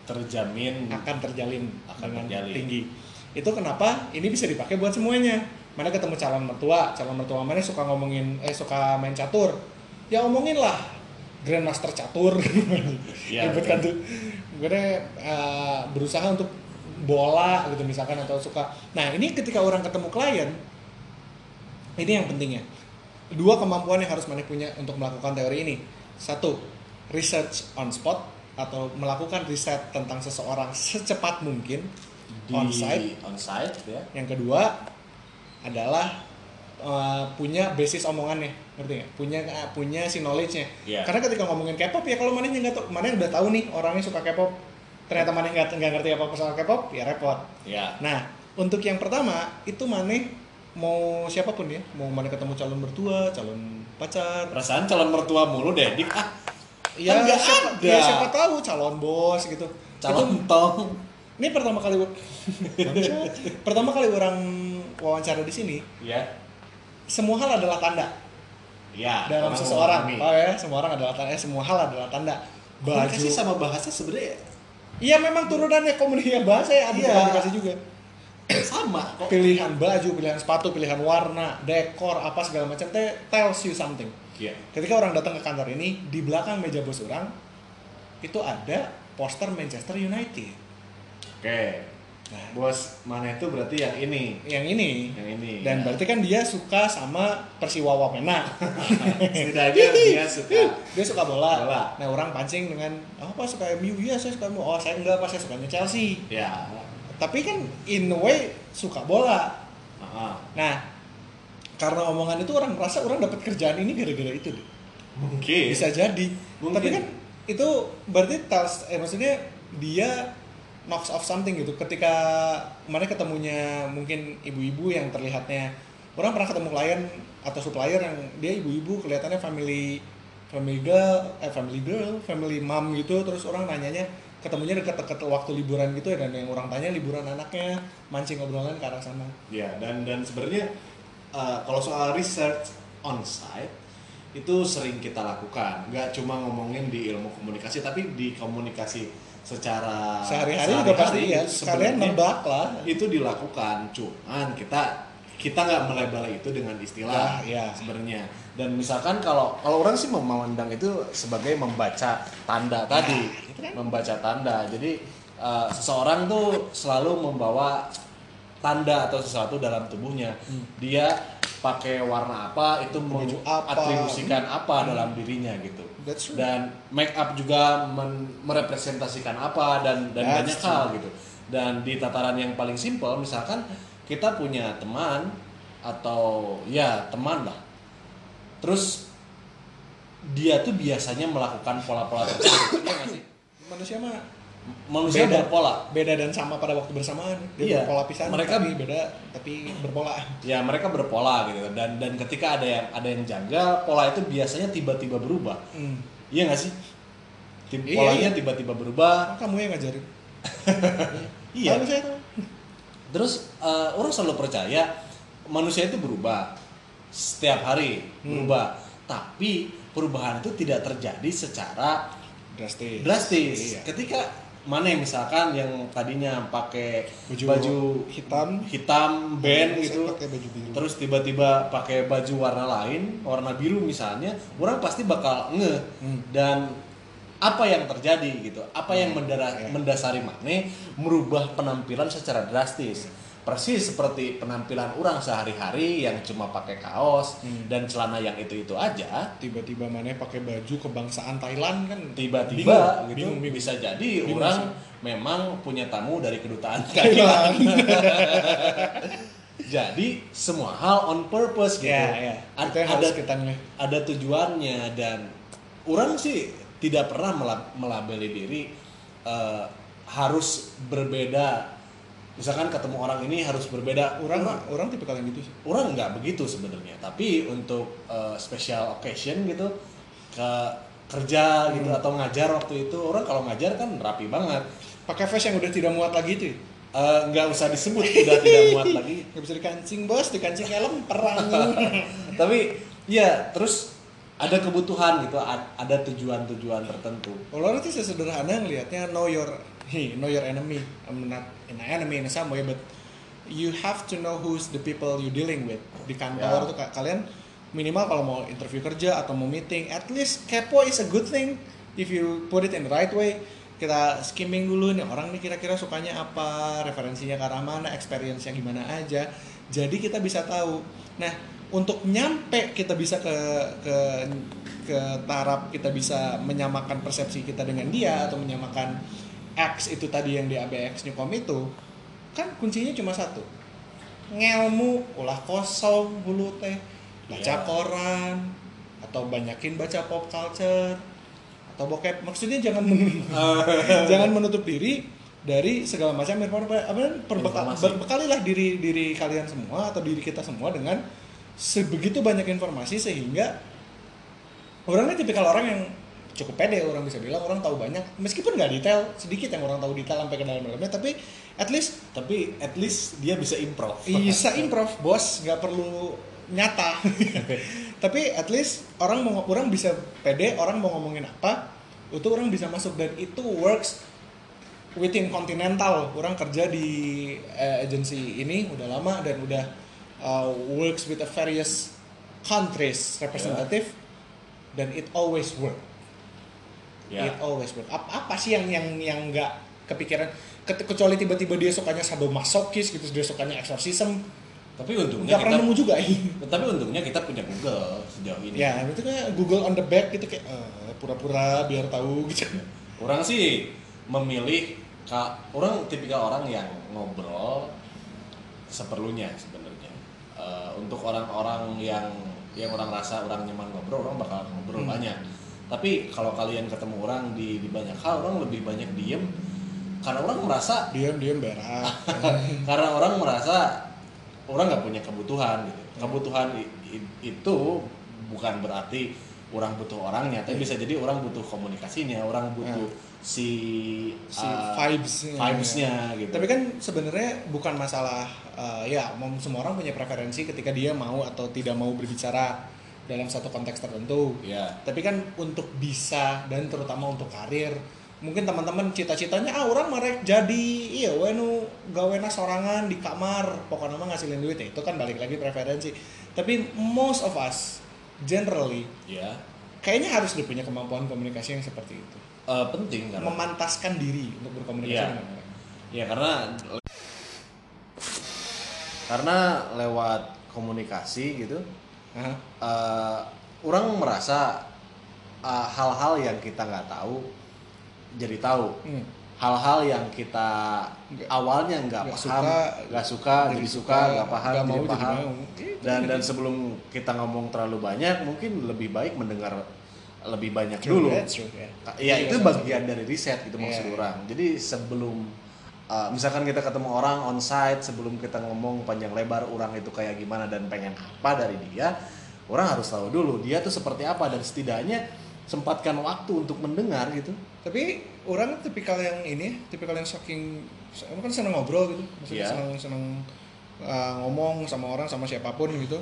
Speaker 2: Terjamin.
Speaker 1: akan terjalin
Speaker 2: Hmm. Akan
Speaker 1: dengan
Speaker 2: terjalin.
Speaker 1: tinggi. Itu kenapa ini bisa dipakai buat semuanya. Mana ketemu calon mertua, calon mertua mana suka ngomongin eh suka main catur. Ya omongin lah Grandmaster catur. <laughs>
Speaker 2: Ya,
Speaker 1: Ribet kan tuh. Gue eh, berusaha untuk bola gitu misalkan atau suka. Nah, ini ketika orang ketemu klien ini yang pentingnya. Dua kemampuan yang harus Maneh punya untuk melakukan teori ini. Satu, research on spot atau melakukan riset tentang seseorang secepat mungkin
Speaker 2: Di
Speaker 1: on site.
Speaker 2: onsite ya.
Speaker 1: Yang kedua adalah eh, punya basis omongannya, ngerti nggak? Punya eh, punya si knowledge-nya.
Speaker 2: Iya.
Speaker 1: Karena ketika ngomongin K-pop ya kalau manehnya nggak tahu, maneh udah tahu nih orangnya suka K-pop. Ternyata maneh nggak nggak ngerti apa-apa soal K-pop, ya repot.
Speaker 2: Ya.
Speaker 1: Nah, untuk yang pertama itu maneh mau siapapun ya, mau maneh ketemu calon mertua, calon pacar,
Speaker 2: Perasaan calon mertua mulu deh, dik. Ah,
Speaker 1: ya
Speaker 2: Kan nggak
Speaker 1: siapa,
Speaker 2: ada.
Speaker 1: ya siapa tahu calon bos gitu. Itu-
Speaker 2: calon tong.
Speaker 1: ini pertama kali
Speaker 2: <laughs>
Speaker 1: Bangsat. pertama kali orang wawancara di sini,
Speaker 2: Ya.
Speaker 1: semua hal adalah tanda
Speaker 2: Ya.
Speaker 1: dalam
Speaker 2: orang
Speaker 1: seseorang.
Speaker 2: memahami.
Speaker 1: Paham ya? Semua orang adalah tanda, eh, semua hal adalah tanda.
Speaker 2: Komunikasi
Speaker 1: Baju.
Speaker 2: sama bahasa sebenarnya
Speaker 1: Iya memang turunannya komunikasi bahasa ya, ada
Speaker 2: Iya.
Speaker 1: komunikasi juga.
Speaker 2: sama kok.
Speaker 1: Pilihan baju, pilihan sepatu, pilihan warna, dekor, apa segala macam teh tells you something.
Speaker 2: Iya.
Speaker 1: Ketika orang datang ke kantor ini, di belakang meja bos orang itu ada poster Manchester United.
Speaker 2: Oke.
Speaker 1: Nah,
Speaker 2: Bos mana itu berarti yang ini.
Speaker 1: yang ini.
Speaker 2: Yang ini.
Speaker 1: Dan berarti kan dia suka sama Persiwa Wamena.
Speaker 2: <laughs> setidaknya dia suka
Speaker 1: dia suka bola.
Speaker 2: Bola.
Speaker 1: Nah, orang pancing dengan "Oh, apa suka MU? Iya, saya suka MU. Oh, saya enggak, Pak, saya sukanya Chelsea.
Speaker 2: ya.
Speaker 1: Tapi kan in a way suka bola.
Speaker 2: Heeh.
Speaker 1: Nah, karena omongan itu orang merasa orang dapat kerjaan ini gara-gara itu deh.
Speaker 2: Mungkin.
Speaker 1: bisa jadi
Speaker 2: Iya. Mungkin.
Speaker 1: tapi kan itu berarti tells eh maksudnya dia knocks off something gitu ketika mana ketemunya mungkin ibu-ibu yang terlihatnya orang pernah ketemu klien atau supplier yang dia ibu-ibu kelihatannya family family girl eh family girl family mom gitu terus orang nanyanya ketemunya deket-deket waktu liburan gitu ya dan yang orang tanya liburan anaknya mancing obrolan ke arah sana
Speaker 2: Ya, dan dan sebenarnya uh, kalau soal research on site itu sering kita lakukan. Nggak cuma ngomongin di ilmu komunikasi, tapi di komunikasi secara
Speaker 1: sehari-hari juga pasti
Speaker 2: Ah, sehari-hari
Speaker 1: ya
Speaker 2: itu
Speaker 1: sekalian
Speaker 2: sebenarnya
Speaker 1: nebak lah
Speaker 2: itu dilakukan cuman kita kita nggak melebel itu dengan istilah
Speaker 1: Ya, ya.
Speaker 2: sebenarnya dan misalkan kalau kalau orang sih memandang itu sebagai membaca tanda tadi membaca tanda jadi eh, seseorang tuh selalu membawa tanda atau sesuatu dalam tubuhnya dia pakai warna Hmm. apa Hmm. itu
Speaker 1: Baju apa.
Speaker 2: mengatribusikan apa dalam dirinya gitu
Speaker 1: That's true.
Speaker 2: dan make up juga men- merepresentasikan apa dan dan banyak
Speaker 1: That's true.
Speaker 2: hal gitu dan di tataran yang paling simpel misalkan kita punya teman atau ya teman lah terus dia tuh biasanya melakukan pola-pola tersebut iya nggak sih
Speaker 1: manusia mah
Speaker 2: manusia
Speaker 1: Beda.
Speaker 2: berpola
Speaker 1: beda dan sama pada waktu bersamaan
Speaker 2: Iya.
Speaker 1: dia berpola pisah
Speaker 2: Mereka-
Speaker 1: tapi beda tapi berpola
Speaker 2: ya mereka berpola gitu dan dan ketika ada yang ada yang janggal pola itu biasanya tiba-tiba berubah
Speaker 1: hmm.
Speaker 2: iya nggak sih Tim,
Speaker 1: Iya,
Speaker 2: polanya
Speaker 1: iya.
Speaker 2: tiba-tiba berubah
Speaker 1: Ah, kamu yang ngajarin
Speaker 2: iya
Speaker 1: Tahu saya tuh.
Speaker 2: Terus eh, orang selalu percaya manusia itu berubah setiap hari berubah, tapi perubahan itu tidak terjadi secara
Speaker 1: drastis
Speaker 2: drastis.
Speaker 1: Iya.
Speaker 2: Ketika Mane misalkan yang tadinya pakai
Speaker 1: Baju Iya.
Speaker 2: baju,
Speaker 1: hitam.
Speaker 2: hitam band
Speaker 1: Saya
Speaker 2: gitu,
Speaker 1: pakai baju biru
Speaker 2: terus tiba-tiba pakai baju warna lain, warna biru misalnya, orang pasti bakal ngeh
Speaker 1: Hmm.
Speaker 2: dan apa yang terjadi gitu, apa yang mendara-
Speaker 1: iya.
Speaker 2: mendasari Mane merubah penampilan secara drastis. Persis seperti penampilan orang sehari-hari yang cuma pakai kaos
Speaker 1: Hmm.
Speaker 2: dan celana yang itu-itu aja,
Speaker 1: tiba-tiba mana pakai baju kebangsaan Thailand kan
Speaker 2: tiba-tiba
Speaker 1: Bingung,
Speaker 2: gitu
Speaker 1: bingung,
Speaker 2: <laughs>
Speaker 1: bingung.
Speaker 2: bisa jadi
Speaker 1: Bingung
Speaker 2: orang
Speaker 1: sih. Iya.
Speaker 2: memang punya tamu dari
Speaker 1: <laughs>
Speaker 2: kedutaan
Speaker 1: Thailand.
Speaker 2: Thailand. jadi semua hal on purpose gitu.
Speaker 1: ya ya
Speaker 2: Ad-
Speaker 1: itu yang harus kita nih
Speaker 2: ada tujuannya dan orang sih tidak pernah mela- melabeli diri eh, harus berbeda misalkan ketemu orang ini harus berbeda
Speaker 1: orang
Speaker 2: orang
Speaker 1: orang tipikal yang gitu sih
Speaker 2: orang nggak begitu sebenarnya tapi untuk eh, special occasion gitu ke kerja gitu atau ngajar waktu itu orang kalau ngajar kan rapi banget
Speaker 1: pakai face yang udah tidak muat lagi itu ya.
Speaker 2: Eh, nggak usah disebut udah tidak muat lagi
Speaker 1: nggak bisa dikancing bos dikancing helm perang
Speaker 2: tapi ya terus ada kebutuhan gitu ad- ada tujuan-tujuan tertentu
Speaker 1: Kalau nanti sesederhana ngelihatnya know your hey, know your enemy. I'm not an enemy in some way, but you have to know who's the people you dealing with di kantor
Speaker 2: Ya.
Speaker 1: tuh ka- kalian minimal kalau mau interview kerja atau mau meeting, at least kepo is a good thing if you put it in the right way. Kita skimming dulu nih orang nih kira-kira sukanya apa, referensinya ke arah mana, experience-nya gimana aja. Jadi kita bisa tahu. Nah, untuk nyampe kita bisa ke ke ke taraf kita bisa menyamakan persepsi kita dengan dia atau menyamakan X itu tadi yang di ABX Newcom itu kan kuncinya cuma satu ngelmu ulah kosong bulu teh baca
Speaker 2: Iya.
Speaker 1: koran atau banyakin baca pop culture atau bokep maksudnya jangan
Speaker 2: <laughs>
Speaker 1: men- jangan menutup diri dari segala macam informasi apa perbekal
Speaker 2: Informasi.
Speaker 1: berbekalilah diri diri kalian semua atau diri kita semua dengan sebegitu banyak informasi sehingga orangnya tipikal orang yang cukup pede orang bisa bilang orang tahu banyak meskipun nggak detail sedikit yang orang tahu detail sampai ke dalam-dalamnya tapi at least
Speaker 2: tapi at least dia bisa improv
Speaker 1: bisa improv bos nggak perlu nyata <laughs> tapi at least orang mau orang bisa pede orang mau ngomongin apa itu orang bisa masuk dan itu works within continental orang kerja di eh, agency ini udah lama dan udah uh, works with the various countries representative dan it always work
Speaker 2: ya
Speaker 1: it always work Ap- apa sih yang yang yang nggak kepikiran Ke- kecuali tiba-tiba dia sukanya sadomasokis gitu dia sukanya exorcism
Speaker 2: tapi untungnya
Speaker 1: nggak pernah nemu
Speaker 2: kita
Speaker 1: juga
Speaker 2: tapi untungnya kita punya Google sejauh ini
Speaker 1: <laughs> ya itu kayak Google on the back gitu kayak eh, pura-pura biar tahu gitu <laughs>
Speaker 2: orang sih memilih ka- orang tipikal orang yang ngobrol seperlunya sebenarnya Eh, untuk orang-orang yang yang orang rasa orang nyaman ngobrol orang bakal ngobrol
Speaker 1: Hmm.
Speaker 2: banyak tapi kalau kalian ketemu orang di, di banyak hal orang lebih banyak diem karena orang merasa
Speaker 1: diam diam berak
Speaker 2: karena orang merasa orang nggak punya kebutuhan gitu kebutuhan i- i- itu bukan berarti orang butuh orangnya tapi bisa jadi orang butuh komunikasinya orang butuh si
Speaker 1: Ya. si
Speaker 2: uh,
Speaker 1: vibes
Speaker 2: vibes-nya <laughs> gitu
Speaker 1: tapi kan sebenarnya bukan masalah eh, ya mem- semua orang punya preferensi ketika dia mau atau tidak mau berbicara dalam satu konteks tertentu
Speaker 2: ya
Speaker 1: tapi kan untuk bisa dan terutama untuk karir mungkin teman-teman cita-citanya ah orang merek jadi iya we nu gawena sorangan di kamar pokoknya mah ngasilin duit ya itu kan balik lagi preferensi tapi most of us generally
Speaker 2: ya
Speaker 1: kayaknya harus dia punya kemampuan komunikasi yang seperti itu
Speaker 2: Eh, penting karena
Speaker 1: memantaskan diri untuk berkomunikasi
Speaker 2: Iya.
Speaker 1: dengan orang
Speaker 2: ya karena karena lewat komunikasi gitu
Speaker 1: Hah?
Speaker 2: eh, orang merasa eh, hal-hal yang kita nggak tahu jadi tahu
Speaker 1: Hmm.
Speaker 2: hal-hal yang kita
Speaker 1: Nggak-
Speaker 2: awalnya nggak
Speaker 1: nggak
Speaker 2: paham,
Speaker 1: suka,
Speaker 2: nggak suka, jadi suka, nggak paham,
Speaker 1: nggak
Speaker 2: jadi
Speaker 1: mau jadi
Speaker 2: paham.
Speaker 1: mau Gitu.
Speaker 2: Dan dan sebelum kita ngomong terlalu banyak, mungkin lebih baik mendengar lebih banyak
Speaker 1: True,
Speaker 2: dulu.
Speaker 1: that's true,
Speaker 2: Ya
Speaker 1: ya. Iya,
Speaker 2: itu
Speaker 1: sama-sama.
Speaker 2: bagian dari riset gitu maksud
Speaker 1: Iya.
Speaker 2: orang. Jadi sebelum uh, misalkan kita ketemu orang on site, sebelum kita ngomong panjang lebar orang itu kayak gimana dan pengen apa dari dia, orang harus tahu dulu dia tuh seperti apa dan setidaknya sempatkan waktu untuk mendengar gitu.
Speaker 1: tapi orang tipikal yang ini tipikal yang shocking emang kan seneng ngobrol gitu maksudnya
Speaker 2: Iya.
Speaker 1: seneng seneng uh, ngomong sama orang sama siapapun gitu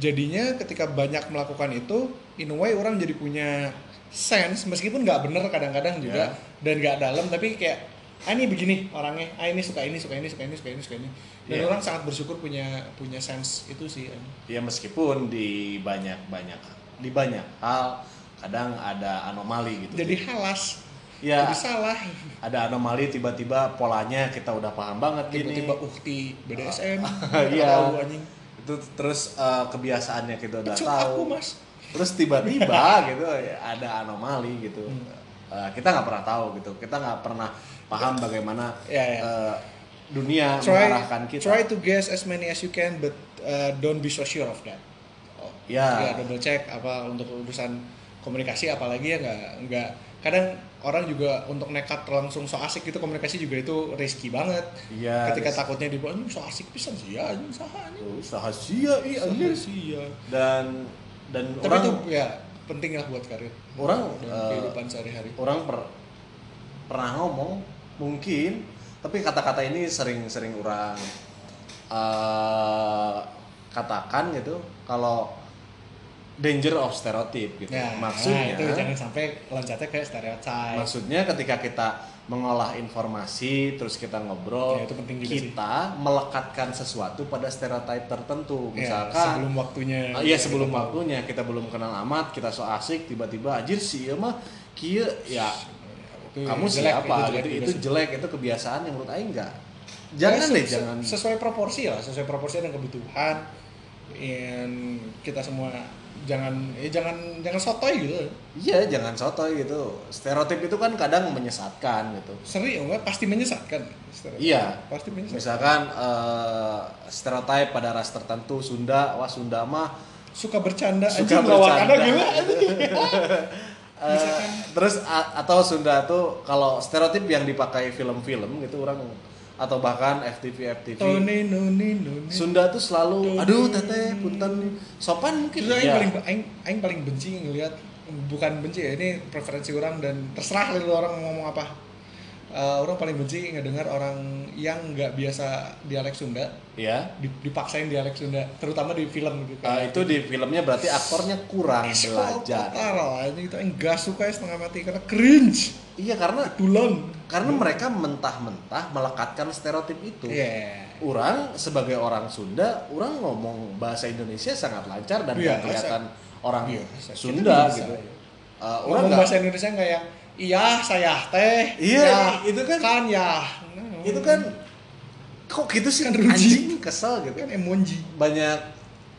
Speaker 1: jadinya ketika banyak melakukan itu in a way orang jadi punya sense meskipun nggak bener kadang-kadang juga
Speaker 2: Iya.
Speaker 1: dan nggak dalam tapi kayak ah ini begini orangnya ah ini suka ini suka ini suka ini suka ini suka ini dan
Speaker 2: Iya.
Speaker 1: orang sangat bersyukur punya punya sense itu sih kan.
Speaker 2: ya meskipun di banyak banyak di banyak hal kadang ada anomali gitu
Speaker 1: jadi halas
Speaker 2: ya
Speaker 1: jadi salah
Speaker 2: ada anomali tiba-tiba polanya kita udah paham banget gini
Speaker 1: tiba-tiba ukti
Speaker 2: <laughs>
Speaker 1: BDSM
Speaker 2: Nah. Iya.
Speaker 1: tahu anjing
Speaker 2: itu terus eh, kebiasaannya kita udah
Speaker 1: Pecut
Speaker 2: tahu
Speaker 1: aku mas
Speaker 2: terus
Speaker 1: <laughs>
Speaker 2: tiba-tiba gitu ya, ada anomali gitu
Speaker 1: Hmm.
Speaker 2: Eh, kita nggak pernah tahu gitu kita nggak pernah paham bagaimana
Speaker 1: Ya, ya.
Speaker 2: eh, dunia
Speaker 1: try
Speaker 2: mengarahkan kita
Speaker 1: try to guess as many as you can but uh, don't be so sure of that Oh,
Speaker 2: Ya.
Speaker 1: ya, double check apa untuk urusan komunikasi apalagi ya nggak nggak kadang orang juga untuk nekat langsung so asik gitu komunikasi juga itu risky banget
Speaker 2: Iya,
Speaker 1: ketika
Speaker 2: risky.
Speaker 1: takutnya di "Anjing, so asik pisan sih ya anjing saha anjing
Speaker 2: Tuh, rahasia iya anjir.
Speaker 1: sih ya
Speaker 2: dan dan
Speaker 1: tapi
Speaker 2: orang
Speaker 1: itu ya penting lah buat karir
Speaker 2: orang
Speaker 1: dan
Speaker 2: eh,
Speaker 1: kehidupan sehari-hari
Speaker 2: orang per- pernah ngomong mungkin tapi kata-kata ini sering-sering orang eh, katakan gitu kalau danger of stereotype gitu
Speaker 1: Nah,
Speaker 2: maksudnya
Speaker 1: itu jangan sampai loncatnya ke stereotip
Speaker 2: maksudnya ketika kita mengolah informasi terus kita ngobrol
Speaker 1: Ya, itu penting juga
Speaker 2: kita melekatkan sesuatu pada stereotip tertentu
Speaker 1: Ya,
Speaker 2: misalkan
Speaker 1: sebelum ya, waktunya
Speaker 2: Ah, iya sebelum
Speaker 1: Kita tahu.
Speaker 2: waktunya kita belum kenal amat, kita so asik tiba-tiba anjir sih ya mah kieu ya
Speaker 1: Itu
Speaker 2: kamu
Speaker 1: jelek,
Speaker 2: siapa
Speaker 1: jelek
Speaker 2: gitu
Speaker 1: juga
Speaker 2: itu
Speaker 1: sih.
Speaker 2: jelek itu kebiasaan yang menurut aing Iya, enggak.
Speaker 1: Ya,
Speaker 2: Jangan
Speaker 1: se-
Speaker 2: deh
Speaker 1: se-
Speaker 2: jangan
Speaker 1: sesuai proporsi lah, sesuai proporsi dan kebutuhan. And kita semua jangan eh jangan jangan sotoy gitu
Speaker 2: Iya, jangan sotoy gitu. Stereotip itu kan kadang menyesatkan gitu.
Speaker 1: seri oh enggak pasti menyesatkan stereotip.
Speaker 2: Iya.
Speaker 1: pasti menyesatkan
Speaker 2: Misalkan eh, stereotip pada ras tertentu Sunda, wah Sunda mah
Speaker 1: suka bercanda
Speaker 2: Suka
Speaker 1: anjing, lawan
Speaker 2: bercanda.
Speaker 1: anak gila
Speaker 2: eh, terus a- atau Sunda tuh kalau stereotip yang dipakai film-film gitu orang atau bahkan FTV FTV
Speaker 1: Tone noni noni
Speaker 2: Sunda tuh selalu aduh teteh punten sopan mungkin
Speaker 1: Terus aing
Speaker 2: Iya.
Speaker 1: paling aing, aing paling benci ngelihat bukan benci ya ini preferensi orang dan terserah lah lu orang mau ngomong apa. Eh, orang paling benci ngedengar orang yang nggak biasa dialek Sunda
Speaker 2: Iya.
Speaker 1: di- dipaksain dialek Sunda terutama di film gitu
Speaker 2: Eh, itu di filmnya berarti aktornya kurang Ah, iya, belajar.
Speaker 1: Parah aja gitu aing gak suka ya setengah mati karena cringe.
Speaker 2: Iya karena
Speaker 1: Dulan.
Speaker 2: karena mereka mentah-mentah melekatkan stereotip itu.
Speaker 1: Iya.
Speaker 2: orang sebagai orang Sunda, orang ngomong bahasa Indonesia sangat lancar dan nggak
Speaker 1: Iya,
Speaker 2: kelihatan orang
Speaker 1: Biasa.
Speaker 2: Sunda
Speaker 1: Kita bisa.
Speaker 2: gitu. Eh, orang
Speaker 1: Ngomong
Speaker 2: nggak-
Speaker 1: bahasa Indonesia nggak yang iya saya teh.
Speaker 2: Iya,
Speaker 1: ya,
Speaker 2: itu kan-
Speaker 1: kan ya.
Speaker 2: itu kan kok gitu sih
Speaker 1: Kan ruji.
Speaker 2: anjing kesel gitu.
Speaker 1: kan emoji.
Speaker 2: Banyak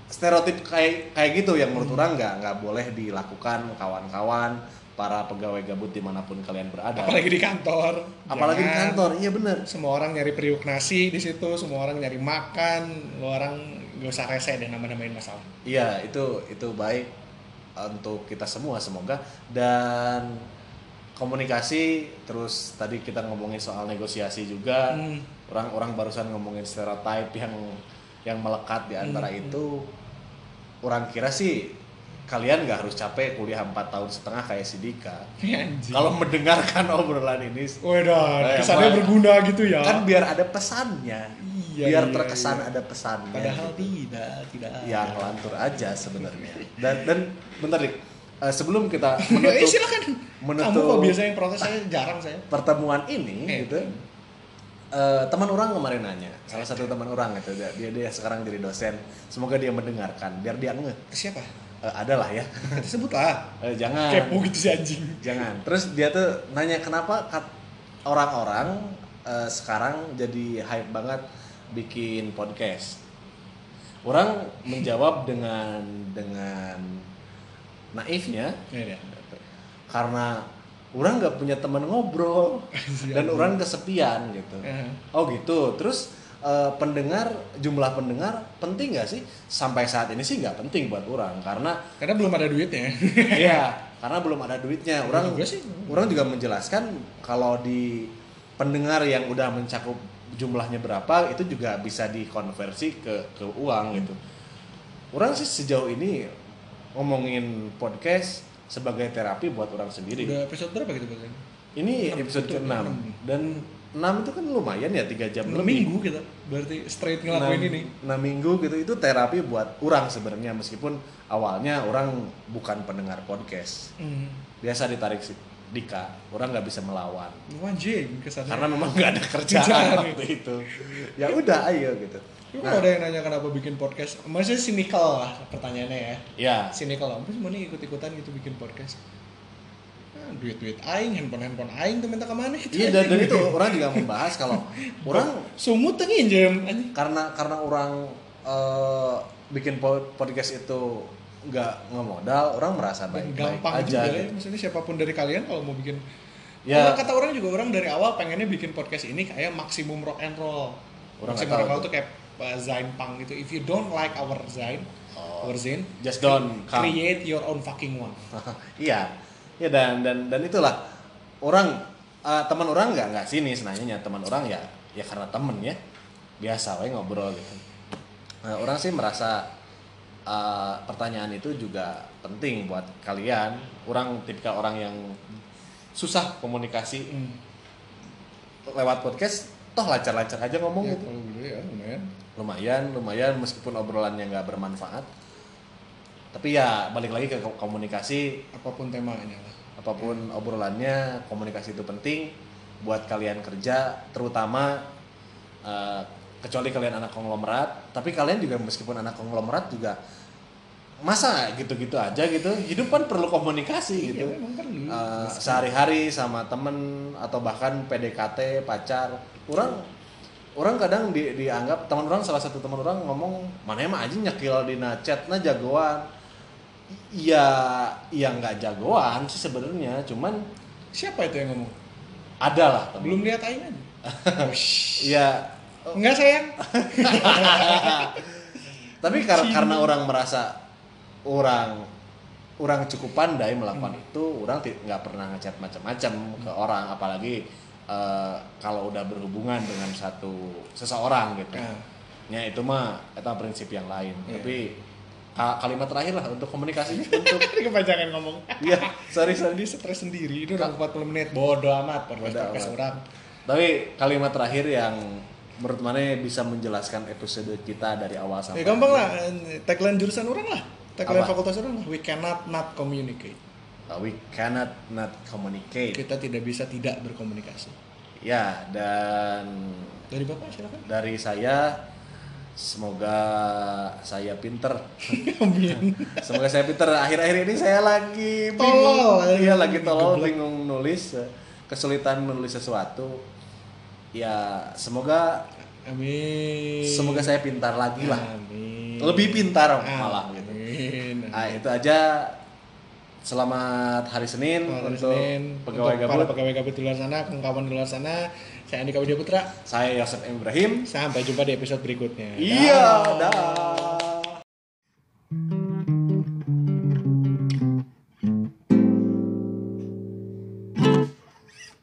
Speaker 2: stereotip kayak kayak gitu yang
Speaker 1: Hmm.
Speaker 2: menurut orang nggak nggak boleh dilakukan kawan-kawan para pegawai gabut dimanapun kalian berada.
Speaker 1: apalagi di kantor
Speaker 2: Apalagi di
Speaker 1: Jangan.
Speaker 2: kantor, iya bener.
Speaker 1: semua orang nyari periuk nasi di situ semua orang nyari makan lu orang gak usah rese deh nama-namain masalah
Speaker 2: Iya, itu itu baik eh, untuk kita semua semoga dan komunikasi terus tadi kita ngomongin soal negosiasi juga.
Speaker 1: Hmm.
Speaker 2: Orang-orang barusan ngomongin stereotip yang yang melekat di antara
Speaker 1: Hmm.
Speaker 2: itu. Orang kira sih kalian nggak harus capek kuliah 4 tahun setengah kayak si Dika.
Speaker 1: Ya, anjing
Speaker 2: Kalau mendengarkan <laughs> obrolan ini
Speaker 1: Wedan,
Speaker 2: Eh,
Speaker 1: kesannya
Speaker 2: apa?
Speaker 1: berguna gitu ya
Speaker 2: kan biar ada pesannya.
Speaker 1: Iya,
Speaker 2: biar
Speaker 1: iya,
Speaker 2: terkesan
Speaker 1: iya.
Speaker 2: ada pesannya.
Speaker 1: padahal
Speaker 2: gitu
Speaker 1: tidak tidak
Speaker 2: yang lantur aja sebenarnya dan dan bentar dik Eh, sebelum kita
Speaker 1: eh
Speaker 2: menutup
Speaker 1: silakan kamu
Speaker 2: menutup
Speaker 1: kok biasa yang protes saya jarang saya
Speaker 2: pertemuan ini
Speaker 1: Eh.
Speaker 2: gitu eh, teman orang kemarin nanya salah satu teman orang gitu dia dia, dia sekarang jadi dosen semoga dia mendengarkan biar dia ngeh
Speaker 1: siapa
Speaker 2: Eh, adalah ya <laughs>
Speaker 1: kita sebut lah
Speaker 2: Eh, jangan
Speaker 1: kepo gitu si anjing
Speaker 2: jangan terus dia tuh nanya kenapa kat- orang-orang eh, sekarang jadi hype banget bikin podcast orang menjawab dengan dengan naifnya
Speaker 1: Iya, iya.
Speaker 2: karena orang nggak punya teman
Speaker 1: <laughs>
Speaker 2: ngobrol dan orang kesepian gitu
Speaker 1: Eh,
Speaker 2: oh gitu terus eh, pendengar jumlah pendengar penting nggak sih sampai saat ini sih nggak penting buat orang
Speaker 1: <laughs>
Speaker 2: karena
Speaker 1: karena belum ada duitnya
Speaker 2: Iya, karena belum ada duitnya. Orang
Speaker 1: Iya juga sih.
Speaker 2: orang juga menjelaskan kalau di pendengar yang udah mencakup jumlahnya berapa itu juga bisa dikonversi ke ke uang gitu. Orang sih sejauh ini ngomongin podcast sebagai terapi buat orang sendiri.
Speaker 1: udah episode berapa gitu Bang?
Speaker 2: Ini
Speaker 1: Enam,
Speaker 2: episode
Speaker 1: betul,
Speaker 2: ke-6 dan 6 itu kan lumayan ya Nah. 3 jam
Speaker 1: Enam
Speaker 2: lebih.
Speaker 1: minggu kita berarti straight ngelakuin
Speaker 2: Enam-
Speaker 1: ini
Speaker 2: enam minggu gitu itu terapi buat orang sebenarnya meskipun awalnya orang bukan pendengar podcast
Speaker 1: hmm.
Speaker 2: biasa ditarik si Dika orang nggak bisa melawan
Speaker 1: Lu anjing kesannya
Speaker 2: karena memang nggak ada kerjaan
Speaker 1: Kerjaan.
Speaker 2: waktu itu ya udah ayo gitu
Speaker 1: Lu
Speaker 2: Nah,
Speaker 1: kalau ada yang nanya kenapa bikin podcast, maksudnya cynical lah pertanyaannya ya.
Speaker 2: ya
Speaker 1: Cynical lah, terus mana ikut-ikutan gitu bikin podcast. Nah, duit-duit aing, handphone-handphone aing tuh minta kemana gitu, itu.
Speaker 2: iya dan, dan itu orang juga membahas
Speaker 1: <laughs>
Speaker 2: kalau orang
Speaker 1: Sumut tuh nginjem, anjing.
Speaker 2: karena karena orang eh, bikin po- podcast itu nggak ngemodal orang merasa baik
Speaker 1: Dan
Speaker 2: baik
Speaker 1: gampang
Speaker 2: aja
Speaker 1: juga ya.
Speaker 2: gitu.
Speaker 1: Maksudnya siapapun dari kalian kalau mau bikin
Speaker 2: Ya.
Speaker 1: Orang kata orang juga orang dari awal pengennya bikin podcast ini kayak maksimum rock and roll.
Speaker 2: Orang nggak tahu
Speaker 1: maksimum rock and roll
Speaker 2: tuh.
Speaker 1: tuh kayak uh, Zain Pang gitu. If you don't like our Zain, our Zain,
Speaker 2: Oh. just don't come
Speaker 1: create your own fucking one.
Speaker 2: <laughs> iya ya dan dan dan itulah orang eh, teman orang nggak nggak sini nanyanya teman orang ya ya karena temen ya biasa we ngobrol gitu Nah, orang sih merasa eh, pertanyaan itu juga penting buat kalian orang tipikal orang yang susah komunikasi
Speaker 1: Hmm.
Speaker 2: lewat podcast toh lancar-lancar aja ngomong
Speaker 1: Ya,
Speaker 2: gitu
Speaker 1: kalau gitu ya lumayan.
Speaker 2: lumayan lumayan meskipun obrolannya nggak bermanfaat tapi ya balik lagi ke ko- komunikasi
Speaker 1: apapun temanya lah.
Speaker 2: apapun obrolannya komunikasi itu penting buat kalian kerja terutama eh, kecuali kalian anak konglomerat tapi kalian juga meskipun anak konglomerat juga masa gitu-gitu aja gitu hidup kan perlu komunikasi gitu
Speaker 1: Iya, memang perlu.
Speaker 2: Eh, sehari-hari sama temen atau bahkan PDKT pacar orang orang kadang di- dianggap teman orang salah satu teman orang ngomong mana emang aja nyekil di chat jagoan ya ya nggak jagoan sih sebenarnya cuman
Speaker 1: Siapa itu yang ngomong?
Speaker 2: ada lah temen.
Speaker 1: Belum lihat
Speaker 2: <laughs>
Speaker 1: Aing aja.
Speaker 2: ya
Speaker 1: Enggak sayang.
Speaker 2: tapi kar- karena orang merasa orang orang cukup pandai melakukan itu orang ti- nggak pernah ngechat macam-macam ke orang apalagi eh, kalau udah berhubungan dengan satu seseorang gitu
Speaker 1: Ah.
Speaker 2: ya itu mah itu prinsip yang lain
Speaker 1: Iya.
Speaker 2: tapi ka- kalimat terakhir lah untuk komunikasi <laughs> untuk
Speaker 1: Kepanjangan ngomong.
Speaker 2: ya sorry sorry
Speaker 1: Tadi stres sendiri, ini udah 40 menit. Bodoh amat,
Speaker 2: Bodo amat.
Speaker 1: podcast-podcast orang.
Speaker 2: tapi kalimat terakhir yang menurut mana bisa menjelaskan episode kita dari awal sampai
Speaker 1: Ya gampang
Speaker 2: akhir.
Speaker 1: lah, tagline jurusan orang lah. Tagline
Speaker 2: Apa?
Speaker 1: fakultas orang lah, we cannot not communicate.
Speaker 2: Uh, we cannot not communicate
Speaker 1: Kita tidak bisa tidak berkomunikasi.
Speaker 2: Ya, dan
Speaker 1: Dari Bapak silakan.
Speaker 2: dari saya semoga saya pinter.
Speaker 1: <laughs> Amin.
Speaker 2: Semoga saya pinter. Akhir-akhir ini saya lagi bingung.
Speaker 1: Tolol.
Speaker 2: Iya,
Speaker 1: ya.
Speaker 2: lagi tolol,
Speaker 1: Geblek.
Speaker 2: bingung nulis, kesulitan menulis sesuatu. Ya, semoga
Speaker 1: Amin.
Speaker 2: semoga saya pintar lagi lah.
Speaker 1: Amin.
Speaker 2: Lebih pintar malah gitu.
Speaker 1: Amin.
Speaker 2: Nah, itu aja. Selamat hari Senin
Speaker 1: Selamat hari
Speaker 2: untuk
Speaker 1: Senin.
Speaker 2: pegawai
Speaker 1: Untuk para
Speaker 2: gabut.
Speaker 1: pegawai gabut di luar sana, kawan di luar sana, saya Andika Widya Putra.
Speaker 2: Saya Yosef Ibrahim.
Speaker 1: Sampai jumpa di episode berikutnya.
Speaker 2: Iya,
Speaker 1: Dah.
Speaker 2: dah.